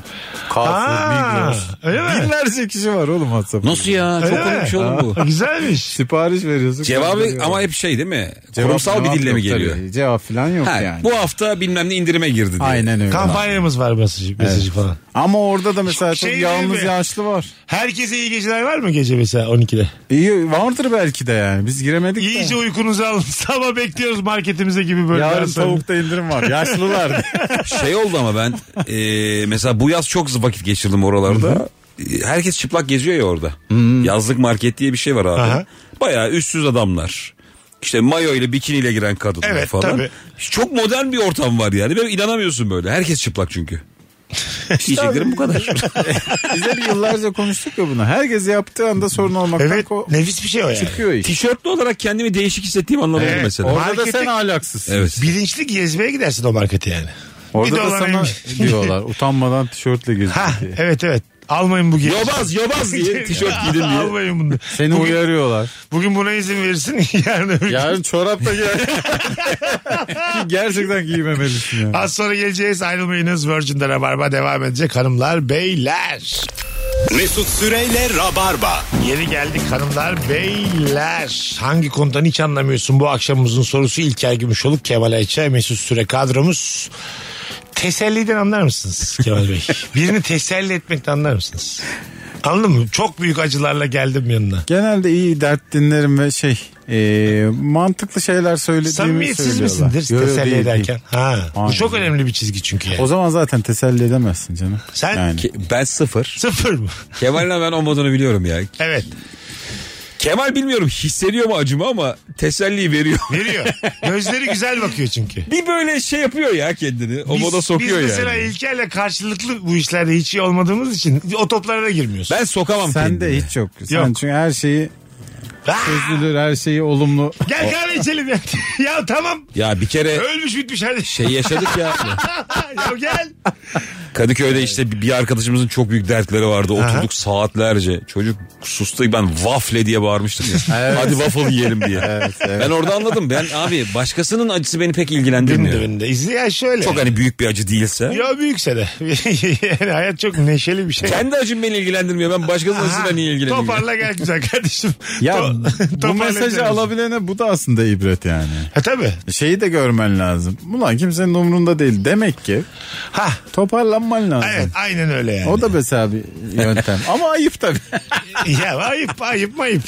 Carrefour, Aa, Migros. öyle mi? Binlerce kişi var oğlum WhatsApp. Nasıl ya? Çok Öyle mi? komik bir şey olur bu. Güzelmiş. Sipariş veriyorsun. Cevabı gönderiyorlar. ama hep şey değil mi? Cevap Kurumsal bir cevap dille mi yok geliyor? tabii. Cevap falan yok Ha, yani. Bu hafta bilmem ne indirime girdi diye. Aynen öyle. Kampanyamız var mesajı, mesajı falan. Ama orada da mesela Şey çok değil yalnız mi? yaşlı var. Herkese iyi geceler var mı gece mesela 12'de? İyi vardır belki de yani. Biz giremedik de. İyice uykunuzu alın. Sabah bekliyoruz marketimize gibi böyle. Yarın biraz sonra. tavukta indirim var. Yaşlılar. Şey oldu ama ben e, mesela bu yaz çok vakit geçirdim oralarda. E, Herkes çıplak geziyor ya orada. Yazlık market diye bir şey var abi. Aha. Bayağı üstsüz adamlar. İşte mayo ile bikiniyle giren kadınlar Evet, falan. tabii. Çok modern bir ortam var yani. Böyle inanamıyorsun böyle. Herkes çıplak çünkü. Yiyeceklerim bu kadar. Biz de bir yıllarca konuştuk ya bunu. Herkes yaptığı anda sorun olmaktan Evet ko- nefis bir şey o yani. çıkıyor iş. Tişörtlü olarak kendimi değişik hissettiğim anlamı oldu Evet, mesela. Orada Markete- da sen ahlaksızsın. Evet. Bilinçli gezmeye gidersin o markete yani. Orada Bir da dolar sana inmiş. diyorlar utanmadan tişörtle gezdin Ha diye. evet evet. Almayın bu giysi. Yobaz yobaz diye tişört giydim diye. Almayın bunu. Seni uyarıyorlar. Bugün buna izin verirsin. Yarın öbür gün. Yarın çorapla giyer. Ki gerçekten giymemelisin yani. Az sonra geleceğiz. Ayrılmayınız. Virgin'de Rabarba devam edecek hanımlar beyler. Mesut Süreyle Rabarba. Yeni geldik hanımlar beyler. Hangi konudan hiç anlamıyorsun bu akşamımızın sorusu İlker Gümüşoluk, Kemal Ayça, Mesut Süre kadromuz. Teselliden anlar mısınız Kemal Bey? Birini teselli etmekten anlar mısınız? Anladın mı? Çok büyük acılarla geldim yanına. Genelde iyi dert dinlerim ve şey e, mantıklı şeyler söylediğimi Samimiyetsiz söylüyorlar. misindir Yo, yo, teselli değil, ederken? değil. Ha. Bu Aynen. çok önemli bir çizgi çünkü yani. O zaman zaten teselli edemezsin canım. Sen- yani. Ke- ben sıfır. Sıfır mı? Kemal'le ben o modunu biliyorum ya. Evet. Kemal bilmiyorum hissediyor mu acımı ama teselli veriyor. Veriyor. Gözleri güzel bakıyor çünkü. bir böyle şey yapıyor ya kendini. O moda sokuyor biz yani. mesela İlker'le karşılıklı bu işlerde hiç iyi olmadığımız için o toplara da girmiyoruz. Ben sokamam Sen kendimi. de hiç yok. Sen Yok. çünkü her şeyi Ah! çözülür, her şeyi olumlu. Gel kahve içelim ya. ya tamam. Ya bir E, kere Ölmüş bitmiş hadi. şey yaşadık ya. ya gel. Kadıköy'de işte bir- bir arkadaşımızın çok büyük dertleri vardı. Oturduk saatlerce. Çocuk sustu. Ben waffle diye bağırmıştım ya. Hadi waffle yiyelim diye. Ben orada anladım. Ben abi başkasının acısı beni pek Dün ilgilendirmiyor. de beni de izle. Ya şöyle. Çok hani büyük bir acı değilse. Ya büyükse de. yani hayat çok neşeli bir şey. Kendi acım beni ilgilendirmiyor. Ben başkasının acısıyla niye ilgileniyorum? Toparla gel güzel kardeşim. Ya To- bu toparla mesajı güzel. alabilene bu da aslında ibret yani. Ha tabii. Şeyi de görmen lazım. Ulan kimsenin umrunda değil. Demek ki Ha toparlanman lazım. evet aynen öyle yani. O da mesela bir yöntem. Ama ayıp tabii. ya ayıp ayıp ayıp.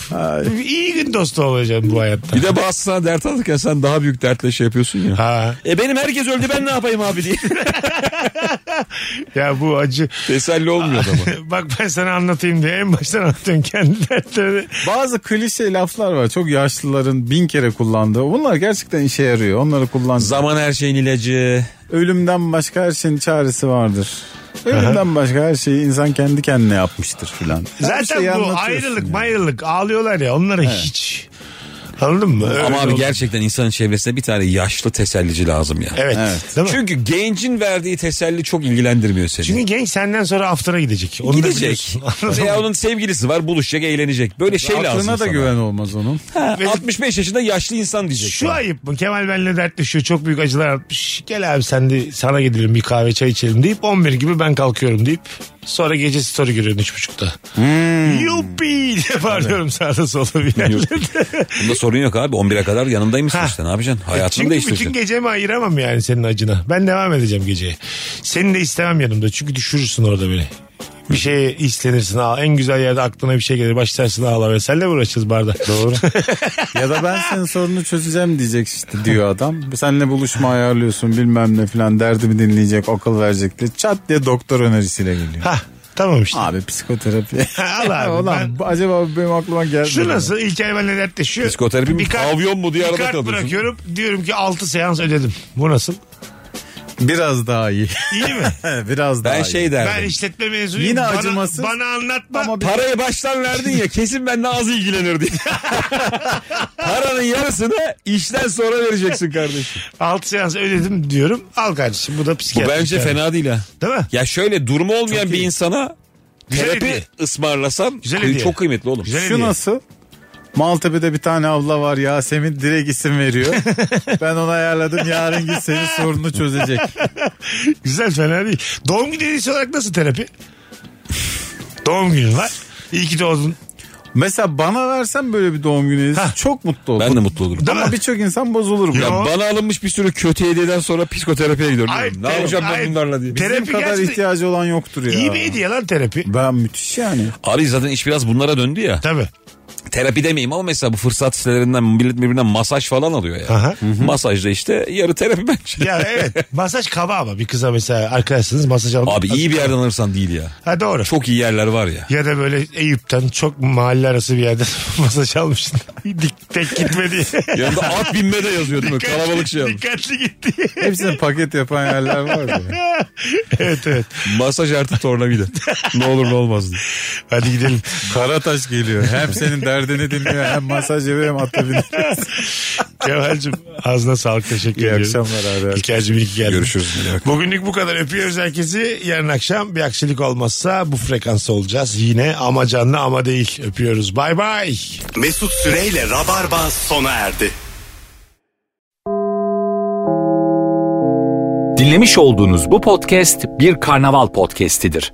İyi gün dostu olacağım bu hayatta. Bir de bazı sana dert alırken sen daha büyük dertle şey yapıyorsun ya. Ha E benim herkes öldü ben ne yapayım abi diye. ya bu acı. Teselli olmuyor ama. Bak ben sana anlatayım diye en baştan anlatıyorum kendi dertlerini. Bazı klişe laflar var. Çok yaşlıların bin kere kullandığı. Bunlar gerçekten işe yarıyor. Onları kullan. Zaman her şeyin ilacı. Ölümden başka her şeyin çaresi vardır. Ölümden başka her şeyi insan kendi kendine yapmıştır filan. Her Zaten şeyi bu anlatıyorsun ayrılık yani. mayrılık ağlıyorlar ya onlara hiç. Anladın mı? Öyle Ama abi oldu. gerçekten insanın çevresinde bir tane yaşlı tesellici lazım ya. Evet. Evet. Değil mi? Çünkü, Çünkü gencin verdiği teselli çok ilgilendirmiyor seni. genç senden sonra after'a gidecek. Onu da Gidecek. biliyorsun. Anladın Veya mı? onun sevgilisi var buluşacak eğlenecek. Böyle şey Aklına lazım da sana. güven olmaz onun. Ha, 65 yaşında yaşlı insan diyecek. Şu sana. ayıp mı? Kemal benimle dertleşiyor. Çok büyük acılar atmış. Gel abi sen de sana gidelim bir kahve çay içelim deyip 11 gibi ben kalkıyorum deyip sonra gece story görüyorsun 3.30'da. Hmm. Yuppi diye bağırıyorum sağda solda bir yerlerde. Bunda sorun yok abi 11'e kadar yanındaymışsın Ha. işte ne yapacaksın? Hayatını Çünkü bütün değiştireceksin. gecemi ayıramam yani senin acına. Ben devam edeceğim geceye. Seni de istemem yanımda. Çünkü düşürürsün orada beni. Bir şeye hislenirsin. Aa, en güzel yerde aklına bir şey gelir. Başlarsın ağla ve senle uğraşacağız barda. Doğru. Ya da ben senin sorunu çözeceğim diyecek işte diyor adam. Seninle buluşma ayarlıyorsun bilmem ne filan derdimi dinleyecek akıl verecek diye. Çat diye doktor önerisiyle geliyor. Hah tamam işte. Abi psikoterapi. Ha, al abi. Ulan Ben- bu- acaba bu benim aklıma gelmedi. Şu nasıl? İlker benimle dertleşiyor. Psikoterapi mi? Bir kart- Pavyon mu diye bir arada kart kalıyorsun. bırakıyorum. Diyorum ki 6 seans ödedim. Bu nasıl? Biraz daha iyi. İyi mi? Biraz daha Ben iyi. şey ben derdim. işletme mezunuyum. Yine bana, acımasız. Bana anlatma. Ama bir- Parayı baştan verdin ya kesin ben az ilgilenirdi. Paranın yarısını işten sonra vereceksin kardeşim. 6 seans ödedim diyorum. Al kardeşim bu da Bu psikiyatri. bence fena değil ha. Değil mi? Ya şöyle durumu olmayan bir insana Güzel terapi hediye. ısmarlasan Güzel kıy- hediye. çok kıymetli oğlum. Güzel Şu hediye. nasıl? Maltepe'de bir tane abla var Yasemin direkt isim veriyor. ben onu ayarladım yarın git senin sorununu çözecek. Güzel fena değil. Doğum günü hediyesi olarak nasıl terapi? Doğum günün var. İyi ki doğdun. Mesela bana versen böyle bir doğum günü hediyesi, Hah. çok mutlu olurum. Ben de mutlu olurum. Değil Ama mi? birçok insan bozulur. bu. Ya Ya bana alınmış bir sürü kötü hediyeden sonra psikoterapiye gidiyorum. Ay, diyorum. ne ter- yapacağım ben ay, bunlarla diye. ter- Bizim Terapi kadar gerçekten- ihtiyacı olan yoktur ya. İyi bir hediye lan terapi. Ben müthiş yani. Abi zaten iş biraz bunlara döndü ya. Tabii. Terapi demeyeyim ama mesela bu fırsat sitelerinden millet birbirinden masaj falan alıyor ya. Aha. Masajda işte yarı terapi bence. Ya evet. Masaj kaba ama bir kıza mesela arkadaşsınız masaj alın. Abi iyi bir yerden alırsan değil ya. Ha doğru. Çok iyi yerler var ya. Ya da böyle Eyüp'ten çok mahalle arası bir yerden masaj almışsın. Dik, tek gitme diye. Yanında at binme de yazıyor değil mi? Kalabalık şey almış. Dikkatli git diye. Hepsini paket yapan yerler var ya. evet evet. Masaj artı tornavida. ne olur ne olmaz diye. Hadi gidelim. Karataş geliyor. Hem senin derdini dinliyor hem masaj yapıyor hem atla biniyor. Kemal'cim ağzına sağlık teşekkür İyi ediyorum. akşamlar abi. İlker'cim iyi ki geldin. Görüşürüz. Bugünlük bu kadar. Öpüyoruz herkesi. Yarın akşam bir aksilik olmazsa bu frekansta olacağız. Yine ama canlı ama değil. Öpüyoruz. Bay bay. Mesut Süreyle Rabarba sona erdi. Dinlemiş olduğunuz bu podcast bir karnaval podcastidir.